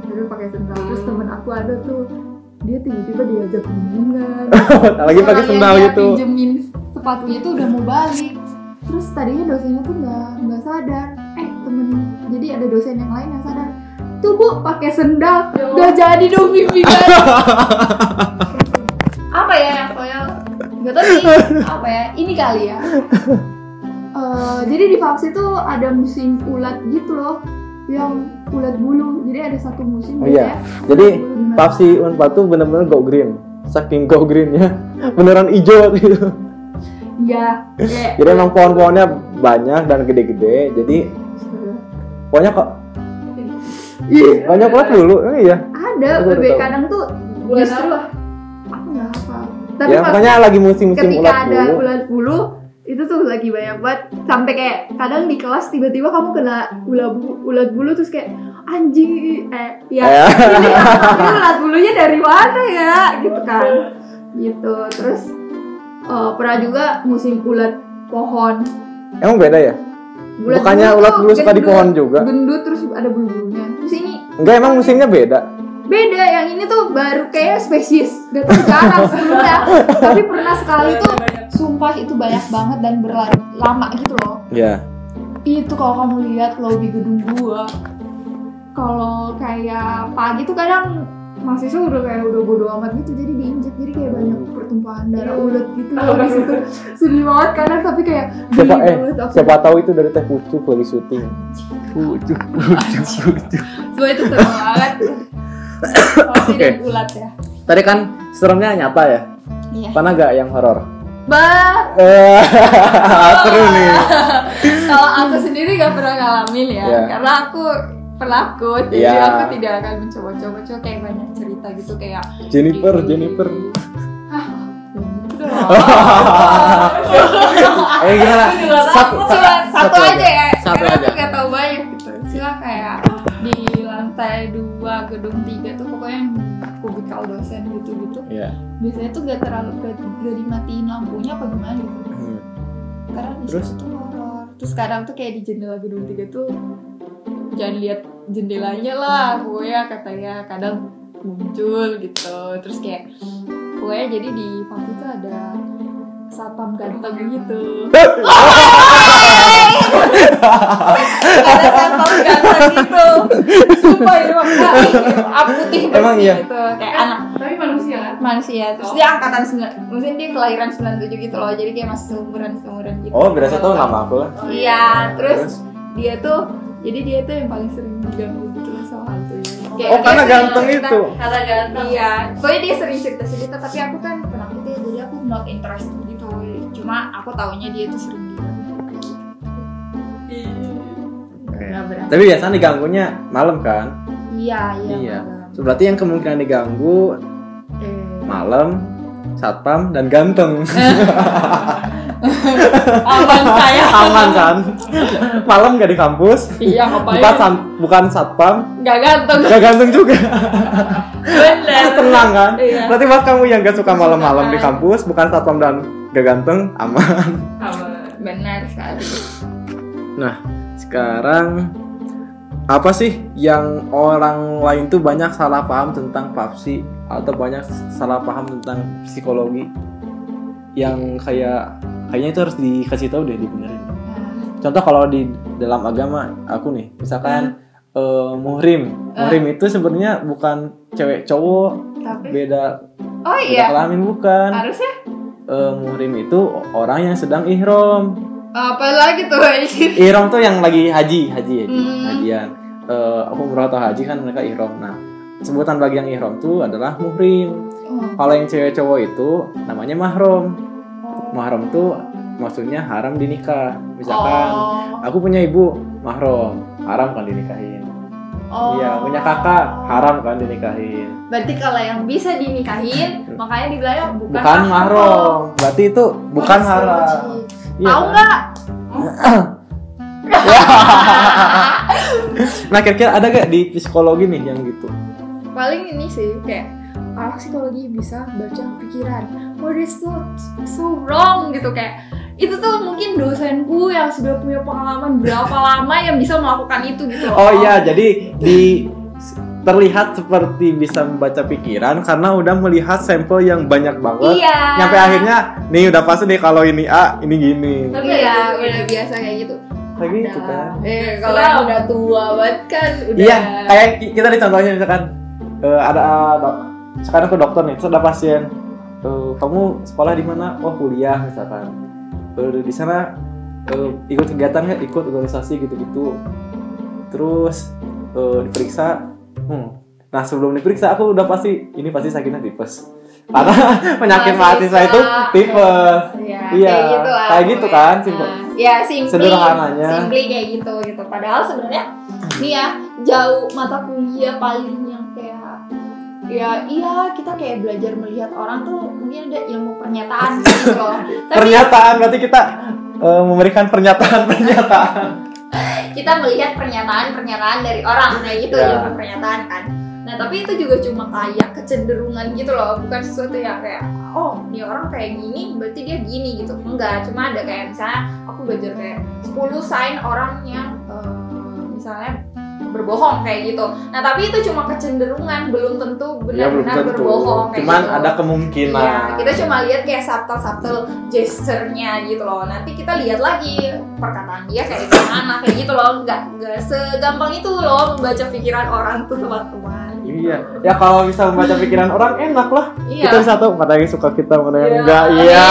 Speaker 2: dulu pakai sendal terus temen aku ada tuh dia tiba-tiba diajak bimbingan
Speaker 1: lagi pakai
Speaker 2: Soalnya
Speaker 1: sendal
Speaker 2: dia
Speaker 1: gitu
Speaker 2: pinjemin sepatunya tuh udah mau balik terus tadinya dosennya tuh nggak nggak sadar eh temen jadi ada dosen yang lain yang sadar tuh bu pakai sendal udah jadi dong bimbingan apa ya yang koyol nggak tahu sih apa ya ini kali ya Eh, jadi di Faks itu ada musim ulat gitu loh yang ulat bulu jadi ada satu musim
Speaker 1: Oh
Speaker 2: gitu
Speaker 1: iya. jadi papsi unpad tuh bener-bener go green saking go green ya beneran hijau gitu
Speaker 2: ya kayak
Speaker 1: jadi emang pohon-pohonnya banyak dan gede-gede jadi
Speaker 2: gitu.
Speaker 1: pokoknya kok
Speaker 2: Iya.
Speaker 1: Ih, banyak banget dulu, eh, iya.
Speaker 2: ada
Speaker 1: Aku baru
Speaker 2: bebek
Speaker 1: tahu.
Speaker 2: kadang tuh
Speaker 3: Bulan
Speaker 2: justru
Speaker 3: apa?
Speaker 2: aku nggak hafal tapi
Speaker 1: Ya,
Speaker 2: pas
Speaker 1: pokoknya lagi musim-musim
Speaker 2: ketika
Speaker 1: ulat
Speaker 2: ada
Speaker 1: bulu.
Speaker 2: ulat bulu itu tuh lagi banyak banget sampai kayak kadang di kelas tiba-tiba kamu kena ulat bu- ulat bulu terus kayak anjing eh ya
Speaker 1: Ya.
Speaker 2: ini tapi ulat bulunya dari mana ya gitu kan gitu terus eh, pernah juga musim ulat pohon
Speaker 1: Emang beda ya?
Speaker 2: Ulat
Speaker 1: Bukannya
Speaker 2: bulu
Speaker 1: ulat
Speaker 2: tuh
Speaker 1: bulu suka di
Speaker 2: gendut.
Speaker 1: pohon juga?
Speaker 2: gendut terus ada bulu-bulunya terus ini
Speaker 1: Enggak emang musimnya beda.
Speaker 2: beda yang ini tuh baru kayak spesies gak tau jarang sebelumnya tapi pernah sekali tuh sumpah itu banyak banget dan berlarut lama gitu loh
Speaker 1: Ya.
Speaker 2: itu kalau kamu lihat lobi gedung gua kalau kayak pagi tuh kadang mahasiswa udah kayak udah bodo amat gitu jadi diinjek jadi kayak banyak pertumpahan darah ulet gitu loh di situ sedih banget kadang tapi kayak
Speaker 1: Siapa
Speaker 2: geli
Speaker 1: eh
Speaker 2: banget,
Speaker 1: siapa tahu itu dari teh pucuk lagi syuting. Pucuk pucuk pucuk.
Speaker 2: Gue itu seru banget Kalau sih
Speaker 1: Oke.
Speaker 2: dari ulat ya
Speaker 1: Tadi kan seremnya nyata ya.
Speaker 2: Iya
Speaker 1: Pernah nggak yang horor?
Speaker 2: Bah,
Speaker 1: Eh, seru
Speaker 2: Oh.
Speaker 1: nih.
Speaker 2: kalau aku sendiri gak pernah ngalamin ya
Speaker 1: Iya.
Speaker 2: Karena aku pelakut Jadi
Speaker 1: Iya.
Speaker 2: aku tidak akan mencoba-coba Cuma kayak banyak cerita gitu kayak
Speaker 1: Jennifer,
Speaker 2: di-
Speaker 1: Jennifer.
Speaker 2: Hah?
Speaker 1: Oh,
Speaker 2: Udah
Speaker 1: Eh gimana? Satu,
Speaker 2: Satu,
Speaker 1: satu,
Speaker 2: satu aja ya
Speaker 1: Satu
Speaker 2: Karena
Speaker 1: aja.
Speaker 2: aku gak tau banyak gitu Sila kayak di lantai dua gedung tiga tuh pokoknya yang kubikal dosen gitu-gitu
Speaker 1: Iya.
Speaker 2: biasanya tuh gak terlalu gak, gak dimatiin lampunya apa gimana gitu karena di
Speaker 1: Terus?
Speaker 2: situ tuh horor terus sekarang tuh kayak di jendela gedung tiga tuh jangan lihat jendelanya lah pokoknya katanya kadang muncul gitu terus kayak pokoknya jadi di Fakti tuh ada satpam ganteng gitu ada satpam ganteng gitu sumpah ini waktu aku putih bersih
Speaker 1: Emang iya?
Speaker 2: gitu kayak anak
Speaker 3: Tapi manusia kan?
Speaker 2: manusia terus dia angkatan sembilan maksudnya dia kelahiran 97 gitu loh jadi kayak masih seumuran seumuran gitu
Speaker 1: Oh, berasa tahu nama aku lah.
Speaker 2: iya terus
Speaker 1: Terus?
Speaker 2: dia tuh jadi dia tuh yang paling sering diganggu gitu loh sama hantu Kayak
Speaker 1: Oh, karena
Speaker 2: dia sering
Speaker 1: ganteng
Speaker 2: cerita-
Speaker 1: itu.
Speaker 3: Kata ganteng.
Speaker 2: iya pokoknya dia sering cerita cerita tapi aku kan penakut ya jadi aku not interested gitu cuma aku taunya dia tuh sering diganggu gitu. Nggak berani.
Speaker 1: Iya. Tapi biasanya diganggunya malam kan?
Speaker 2: iya iya
Speaker 1: Iya.
Speaker 2: malam.
Speaker 1: So, berarti yang kemungkinan diganggu
Speaker 2: Eh,
Speaker 1: malam, satpam dan ganteng.
Speaker 2: aman Oh, saya
Speaker 1: Aman kan? malam gak di kampus?
Speaker 2: iya ngapain
Speaker 1: Bukan sam- bukan satpam,
Speaker 2: nggak ganteng
Speaker 1: gak ganteng juga.
Speaker 2: bener
Speaker 1: Tenang kan?
Speaker 2: Iya. kan?
Speaker 1: Berarti buat kamu yang gak suka malam-malam di kampus, bukan satpam dan gak ganteng, aman.
Speaker 2: benar sekali
Speaker 1: Nah, sekarang apa sih yang orang lain tuh banyak salah paham tentang PUBG atau banyak salah paham tentang psikologi yang kayak kayaknya itu harus dikasih tahu deh dibenerin.
Speaker 2: Nah,
Speaker 1: Contoh kalau di dalam agama aku nih, misalkan
Speaker 2: Hmm.
Speaker 1: eh, muhrim. Muhrim itu sebenarnya bukan cewek cowok,
Speaker 2: tapi
Speaker 1: beda
Speaker 2: oh
Speaker 1: beda
Speaker 2: iya
Speaker 1: kelamin bukan.
Speaker 2: harusnya
Speaker 1: Eh, muhrim itu orang yang sedang ihram.
Speaker 2: apa lagi tuh anjir?
Speaker 1: Ihrom tuh yang lagi haji, haji, haji,
Speaker 2: Hmm.
Speaker 1: hajian. Eh, umrah atau haji kan mereka ihrom. Nah, sebutan bagi yang ihrom tuh adalah muhrim. Kalau yang cewek cowok itu namanya mahrom. Mahrom tuh maksudnya haram dinikah. Misalkan
Speaker 2: Oh.
Speaker 1: aku punya ibu mahrom, haram kan dinikahin.
Speaker 2: Oh.
Speaker 1: Iya, punya kakak haram kan dinikahin.
Speaker 2: Berarti kalau yang bisa dinikahin, makanya dibilang bukan,
Speaker 1: Bukan mahrom. Berarti itu bukan haram. Iya
Speaker 2: Tahu
Speaker 1: kan?
Speaker 2: nggak?
Speaker 1: Nah, kira-kira ada gak di psikologi nih yang gitu?
Speaker 2: Paling ini sih kayak orang psikologi bisa baca pikiran. What is so, so wrong gitu kayak itu tuh mungkin dosenku yang sudah punya pengalaman berapa lama yang bisa melakukan itu gitu loh.
Speaker 1: Oh iya, jadi di terlihat seperti bisa membaca pikiran karena udah melihat sampel yang banyak banget.
Speaker 2: Iya.
Speaker 1: Sampai akhirnya nih udah pasti deh kalau ini A, ini gini.
Speaker 3: Tapi
Speaker 2: Iya,
Speaker 3: ada-
Speaker 2: udah biasa kayak gitu.
Speaker 1: Kayak gitu
Speaker 2: Ada.
Speaker 1: kan.
Speaker 2: Eh, kalau yang udah tua banget kan udah
Speaker 1: Iya, kayak ki- kita di contohnya misalkan eh, ada dok- sekarang ke dokter nih, terus ada pasien. Eh, kamu sekolah di mana? Oh, kuliah misalkan. Eh, di sana eh, ikut kegiatan nggak? Ikut organisasi gitu-gitu. Terus eh, diperiksa. Hmm. Nah, sebelum diperiksa aku udah pasti ini pasti sakitnya tipes. Karena penyakit
Speaker 2: Masih
Speaker 1: mahasiswa itu
Speaker 2: bisa.
Speaker 1: tipes.
Speaker 2: Iya,
Speaker 1: Iya,
Speaker 2: kayak gitu lah.
Speaker 1: kayak gitu
Speaker 2: pokoknya.
Speaker 1: kan, simpel.
Speaker 2: Nah, Iya, simply.
Speaker 1: Sederhananya.
Speaker 2: Simply kayak gitu gitu. Padahal sebenarnya nih ya, jauh mata kuliah paling yang kayak ya iya kita kayak belajar melihat orang tuh mungkin ada ilmu pernyataan gitu loh. Tapi
Speaker 1: Pernyataan berarti kita eh, memberikan pernyataan-pernyataan.
Speaker 2: kita melihat pernyataan-pernyataan dari orang kayak gitu
Speaker 1: Ya.
Speaker 2: ilmu pernyataan kan. Nah, tapi itu juga cuma kayak kecenderungan gitu loh, bukan sesuatu yang kayak oh, dia orang kayak gini, berarti dia gini gitu. Enggak, cuma ada kayak misalnya aku belajar kayak 10 sign orang yang eh, misalnya berbohong kayak gitu. Nah tapi itu cuma kecenderungan Iya, belum tentu benar-benar berbohong.
Speaker 1: Iya,
Speaker 2: kayak
Speaker 1: Cuman
Speaker 2: gitu.
Speaker 1: ada kemungkinan.
Speaker 2: Iya, kita cuma lihat kayak subtle-subtle gesturnya gitu loh. Nanti kita lihat lagi perkataan dia kayak gimana kayak gitu loh. Nggak nggak segampang itu loh membaca pikiran orang tuh teman-teman.
Speaker 1: Iya. Ya kalau bisa membaca pikiran orang enak lah.
Speaker 2: Iya.
Speaker 1: Kita bisa tahu mana yang suka kita, mana yang
Speaker 3: Iya.
Speaker 1: enggak. Iya.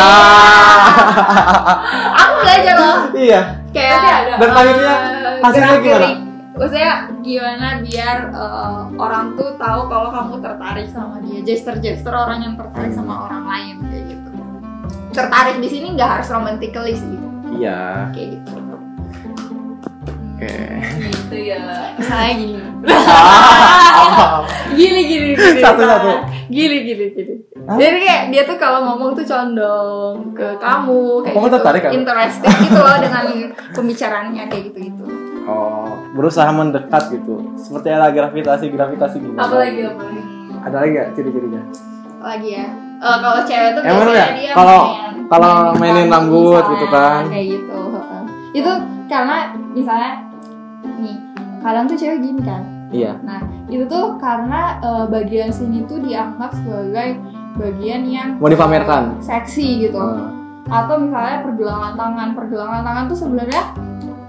Speaker 2: Aku belajar loh
Speaker 1: Iya.
Speaker 2: kayak
Speaker 3: Tapi ada.
Speaker 1: Dan akhirnya
Speaker 3: Iya.
Speaker 2: eh,
Speaker 1: Nah, hasilnya
Speaker 2: gerak
Speaker 1: gimana?
Speaker 2: gerik. Maksudnya gimana biar eh, orang tuh tahu kalau kamu tertarik sama dia. Gesture-gesture orang yang tertarik sama orang lain kayak gitu. Tertarik di sini nggak harus romantically sih
Speaker 1: Iya.
Speaker 2: kayak gitu.
Speaker 1: Oke.
Speaker 3: Gitu ya.
Speaker 2: Misalnya gini.
Speaker 1: Ah.
Speaker 2: gini gini gini
Speaker 1: Satu,
Speaker 2: Sarah.
Speaker 1: satu.
Speaker 2: gini gini gini
Speaker 1: Hah?
Speaker 2: jadi kayak dia tuh kalau ngomong tuh condong ke kamu kayak
Speaker 1: Kamu
Speaker 2: gitu.
Speaker 1: tertarik kan?
Speaker 2: interesting gitu loh dengan pembicaraannya kayak gitu gitu
Speaker 1: Oh, berusaha mendekat gitu. Seperti ada gravitasi, gravitasi gitu.
Speaker 3: Apalagi apalagi.
Speaker 1: Ada lagi nggak ciri-cirinya?
Speaker 2: lagi ya Eh, kalau cewek tuh
Speaker 1: Emang
Speaker 2: biasanya
Speaker 1: ya?
Speaker 2: dia
Speaker 1: Kalau-
Speaker 2: main-
Speaker 1: kalau mainin rambut
Speaker 2: misalnya,
Speaker 1: gitu kan.
Speaker 2: kayak gitu heeh. itu karena misalnya nih kadang tuh cewek gini kan
Speaker 1: Iya.
Speaker 2: itu tuh karena eh, bagian sini tuh dianggap sebagai bagian yang
Speaker 1: Mau dipamerkan.
Speaker 2: seksi gitu
Speaker 1: Oh.
Speaker 2: atau misalnya pergelangan tangan pergelangan tangan tuh sebenarnya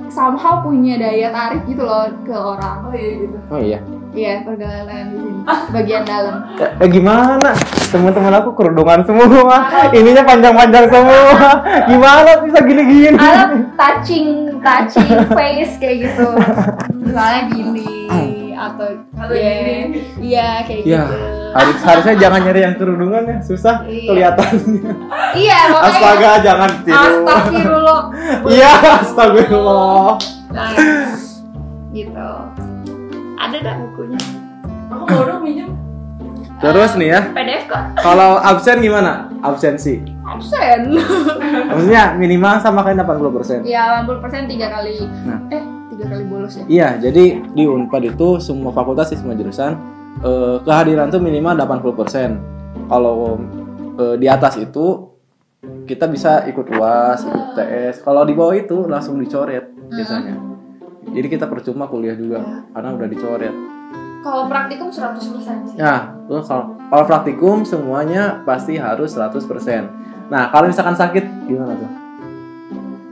Speaker 2: somehow punya daya tarik gitu loh ke orang
Speaker 3: Oh iya gitu.
Speaker 1: Oh iya.
Speaker 2: iya pergelangan tangan di sini bagian dalam
Speaker 1: Eh, eh, gimana? Teman-teman aku kerudungan semua. Ininya panjang-panjang semua. Gimana bisa gini-gini?
Speaker 2: atau touching touching face kayak gitu misalnya gini atau
Speaker 3: Atau
Speaker 2: iya,
Speaker 3: gini.
Speaker 2: iya kayak
Speaker 1: Ya.
Speaker 2: gitu
Speaker 1: Harus harusnya jangan nyari yang kerudungan ya, susah
Speaker 2: Iya.
Speaker 1: kelihatannya.
Speaker 2: iya makanya
Speaker 1: Astaga, jangan tiru.
Speaker 2: astagfirullah
Speaker 1: Iya, astagfirullah.
Speaker 2: Nah, gitu ada dah bukunya
Speaker 3: Aku mau dong minjem.
Speaker 1: Terus nih ya,
Speaker 2: PDF kok
Speaker 1: kalau absen gimana? Absensi.
Speaker 2: absen
Speaker 1: Maksudnya minimal sama kayak 80%.
Speaker 2: ya 80% tiga kali
Speaker 1: Nah.
Speaker 2: eh tiga kali bolos ya
Speaker 1: Iya, jadi di Unpad itu semua fakultas sih, semua jurusan eh, kehadiran tuh minimal 80%. Kalau eh, di atas itu kita bisa ikut UAS, ikut TS. Kalau di bawah itu langsung dicoret biasanya. Jadi kita percuma kuliah juga karena udah dicoret.
Speaker 2: Kalau praktikum 100% sih.
Speaker 1: Nah, lu kalau kalau praktikum semuanya pasti harus 100%. Nah, kalau misalkan sakit gimana tuh?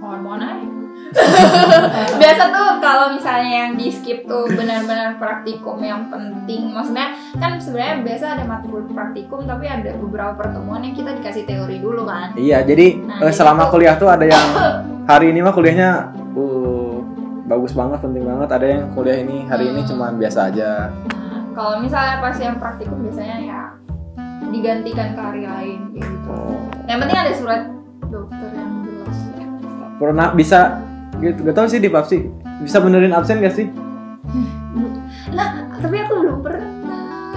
Speaker 2: Mohon-mohon Nah, aja. Biasa tuh kalau misalnya yang di skip tuh benar-benar praktikum yang penting. Maksudnya kan sebenarnya biasa ada matkul praktikum tapi ada beberapa pertemuan yang kita dikasih teori dulu kan.
Speaker 1: Iya, jadi
Speaker 2: Nah,
Speaker 1: eh, selama
Speaker 2: itu.
Speaker 1: kuliah tuh ada yang hari ini mah kuliahnya uh, bagus banget, penting banget. Ada yang kuliah ini hari ini
Speaker 2: Hmm.
Speaker 1: cuma biasa aja.
Speaker 2: Nah, kalau misalnya pas yang praktikum biasanya ya digantikan ke hari lain kayak gitu. Nah, yang penting ada surat dokter yang jelas. ya.
Speaker 1: Pernah bisa gitu, gak tau sih di PAPSI bisa benerin absen gak sih?
Speaker 2: tapi aku belum pernah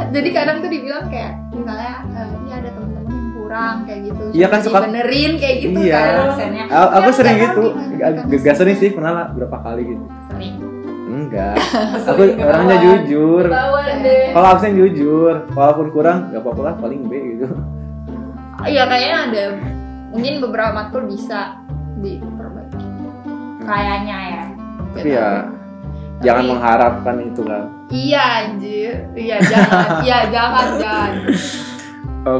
Speaker 2: jadi kadang tuh dibilang kayak misalnya eh, iya ada temen-temen yang kurang kayak gitu
Speaker 1: Iya kan, suka-
Speaker 2: benerin kayak gitu
Speaker 1: Iya.
Speaker 2: kan absennya
Speaker 1: A- aku
Speaker 2: Tapi
Speaker 1: sering
Speaker 2: nggak
Speaker 1: gitu,
Speaker 2: tahu gimana
Speaker 1: Gak-
Speaker 2: kan
Speaker 1: gak sering sih pernah lah berapa kali gitu.
Speaker 2: sering
Speaker 1: Enggak, aku orangnya jujur.
Speaker 3: Ketahuan deh.
Speaker 2: Iya.
Speaker 1: Kalau absen jujur, walaupun kurang gak apa-apa lah, paling B gitu.
Speaker 2: iya kayaknya ada mungkin beberapa matkul bisa diperbaiki kayaknya ya
Speaker 1: Tapi ya jangan
Speaker 2: Tapi-
Speaker 1: mengharapkan itu kan.
Speaker 2: iya anjir iya jangan iya jangan jangan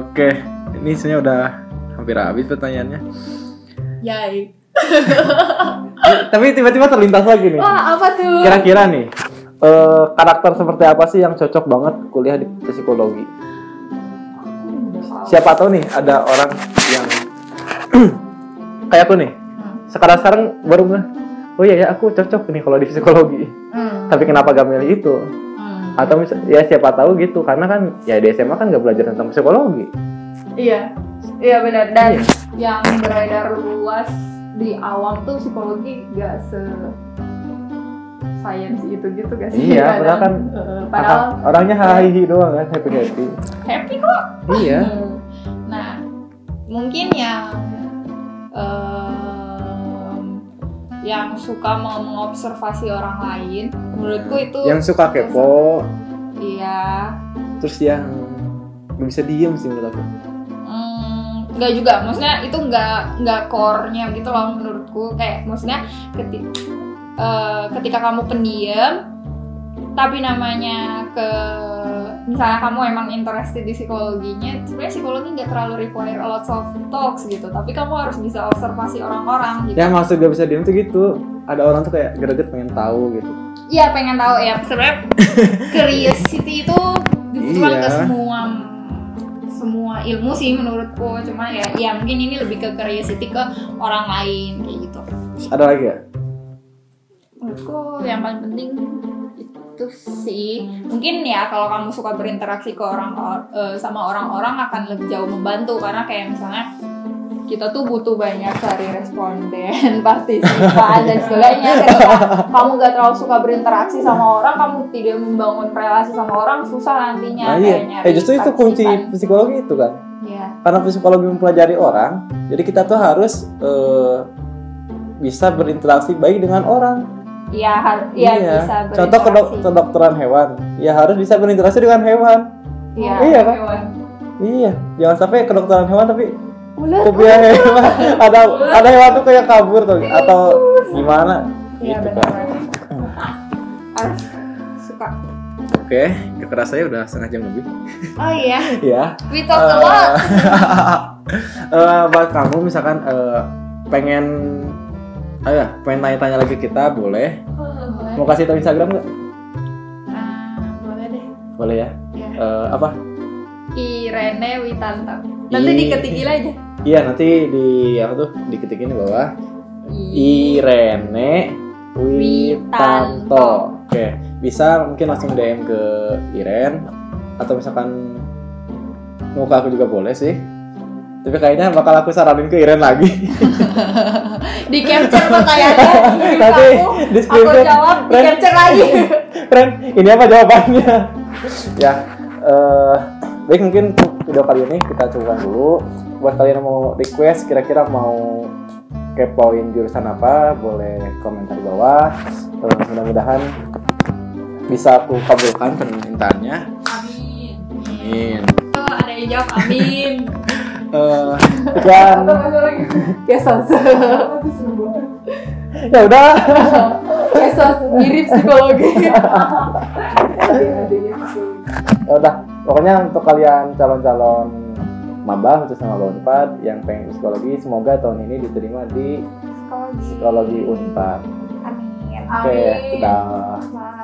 Speaker 1: Oke, ini sebenarnya udah hampir habis pertanyaannya.
Speaker 2: Yai.
Speaker 1: Tapi tiba-tiba terlintas lagi nih.
Speaker 2: wah apa tuh
Speaker 1: Kira-kira nih, eh, karakter seperti apa sih yang cocok banget kuliah di psikologi? Siapa tahu nih ada orang yang kayak aku nih.
Speaker 2: Hmm.
Speaker 1: Sekarang-sekarang baru nggak. Oh iya ya, aku cocok nih kalau di psikologi.
Speaker 2: Hmm,
Speaker 1: Tapi kan kenapa gak milih itu?
Speaker 2: hmm.
Speaker 1: Atau mis- ya siapa tahu gitu, karena kan ya di SMA kan gak belajar tentang psikologi.
Speaker 2: Iya, iya benar dan
Speaker 1: Iya.
Speaker 2: yang beredar luas di awam tuh psikologi gak se science itu gitu gak sih?
Speaker 1: Iya, padahal
Speaker 2: Kadang,
Speaker 1: kan-
Speaker 2: eh, padahal
Speaker 1: orangnya hahihi doang kan, happy happy.
Speaker 2: happy kok.
Speaker 1: Iya.
Speaker 2: Hmm. Nah, mungkin yang em, yang suka mau mengobservasi orang lain, menurutku itu
Speaker 1: yang suka kepo
Speaker 2: iya
Speaker 1: terus yang nggak bisa diem sih menurut aku
Speaker 2: Hmm, nggak juga maksudnya itu nggak nggak core-nya gitu loh menurutku kayak maksudnya keti- eh, ketika kamu pendiam tapi namanya ke misalnya kamu emang interested di psikologinya sebenarnya psikologi nggak terlalu require a lot of talks gitu tapi kamu harus bisa observasi orang-orang gitu
Speaker 1: ya maksud gak bisa diem tuh gitu ada orang tuh kayak greget pengen tahu gitu
Speaker 2: Iya pengen tahu ya sebenarnya curiosity itu dibutuhkan
Speaker 1: Iya.
Speaker 2: ke semua semua ilmu sih menurutku cuma ya ya mungkin ini lebih ke curiosity ke orang lain kayak gitu
Speaker 1: Terus ada lagi ya Hmm.
Speaker 2: menurutku yang paling penting itu sih mungkin ya kalau kamu suka berinteraksi ke orang or- eh, sama orang-orang akan lebih jauh membantu karena kayak misalnya kita tuh butuh banyak cari responden partisipan dan sebagainya ketika kamu gak terlalu suka berinteraksi sama orang kamu tidak membangun relasi sama orang susah nantinya
Speaker 1: nah
Speaker 2: kayak
Speaker 1: iya
Speaker 2: nyari
Speaker 1: eh justru itu kunci
Speaker 2: partisipan.
Speaker 1: psikologi itu kan
Speaker 2: Iya.
Speaker 1: karena psikologi mempelajari orang jadi kita tuh harus eh, bisa berinteraksi baik dengan orang
Speaker 2: Iya, har- iya
Speaker 1: Iya.
Speaker 2: bisa
Speaker 1: Contoh ke, dok- ke
Speaker 2: berinteraksi.
Speaker 1: dokteran hewan, ya harus bisa berinteraksi dengan hewan.
Speaker 2: Iya.
Speaker 1: Iya, Pak.
Speaker 3: Hewan.
Speaker 1: Iya, jangan sampai ke dokteran hewan tapi
Speaker 2: Ular.
Speaker 1: fobia hewan. ada ada hewan tuh kayak kabur tuh atau gimana?
Speaker 2: Iya,
Speaker 1: Gitu
Speaker 2: benar.
Speaker 1: kan.
Speaker 2: Harus suka.
Speaker 1: Oke, keras saya udah setengah jam lebih.
Speaker 2: Oh iya.
Speaker 1: Ya.
Speaker 2: We talk a lot.
Speaker 1: Eh, buat kamu misalkan eh, pengen ayo ya, pengen tanya-tanya lagi ke kita boleh mau kasih tahu Instagram nggak
Speaker 2: Ah, boleh deh.
Speaker 1: boleh ya
Speaker 2: Ya.
Speaker 1: Eh, apa
Speaker 2: Irene Witanto. Nanti
Speaker 1: I-
Speaker 2: diketikil aja.
Speaker 1: iya nanti di apa tuh diketikin di bawah Irene Witanto. Oke, bisa mungkin langsung DM ke Iren atau misalkan muka aku juga boleh sih. Tapi kayaknya bakal aku saranin ke Iren lagi.
Speaker 2: Di capture pertanyaannya. kirim
Speaker 1: Nanti
Speaker 2: aku.
Speaker 1: di
Speaker 2: Aku
Speaker 1: screenshot.
Speaker 2: jawab di
Speaker 1: Ren.
Speaker 2: capture lagi.
Speaker 1: Ren, ini apa jawabannya? ya, eh, baik mungkin untuk video kali ini kita coba dulu. Buat kalian yang mau request, kira-kira mau kepoin jurusan apa, boleh komentar di bawah. Eh, Mudah-mudahan bisa aku kabulkan permintaannya.
Speaker 3: Amin.
Speaker 1: Amin.
Speaker 2: Oh, ada yang jawab amin.
Speaker 1: Eh, dan
Speaker 3: Atau ada lagi.
Speaker 2: Kesos.
Speaker 3: Aku seru banget.
Speaker 1: ya udah.
Speaker 2: Kesos mirip psikologi.
Speaker 3: Adik-adiknya psikologi.
Speaker 1: ya udah pokoknya untuk kalian calon-calon maba khususnya maba unpad yang pengen psikologi semoga tahun ini diterima di psikologi unpad
Speaker 2: Amin.
Speaker 1: oke
Speaker 3: Amin.
Speaker 1: udah
Speaker 2: Bye.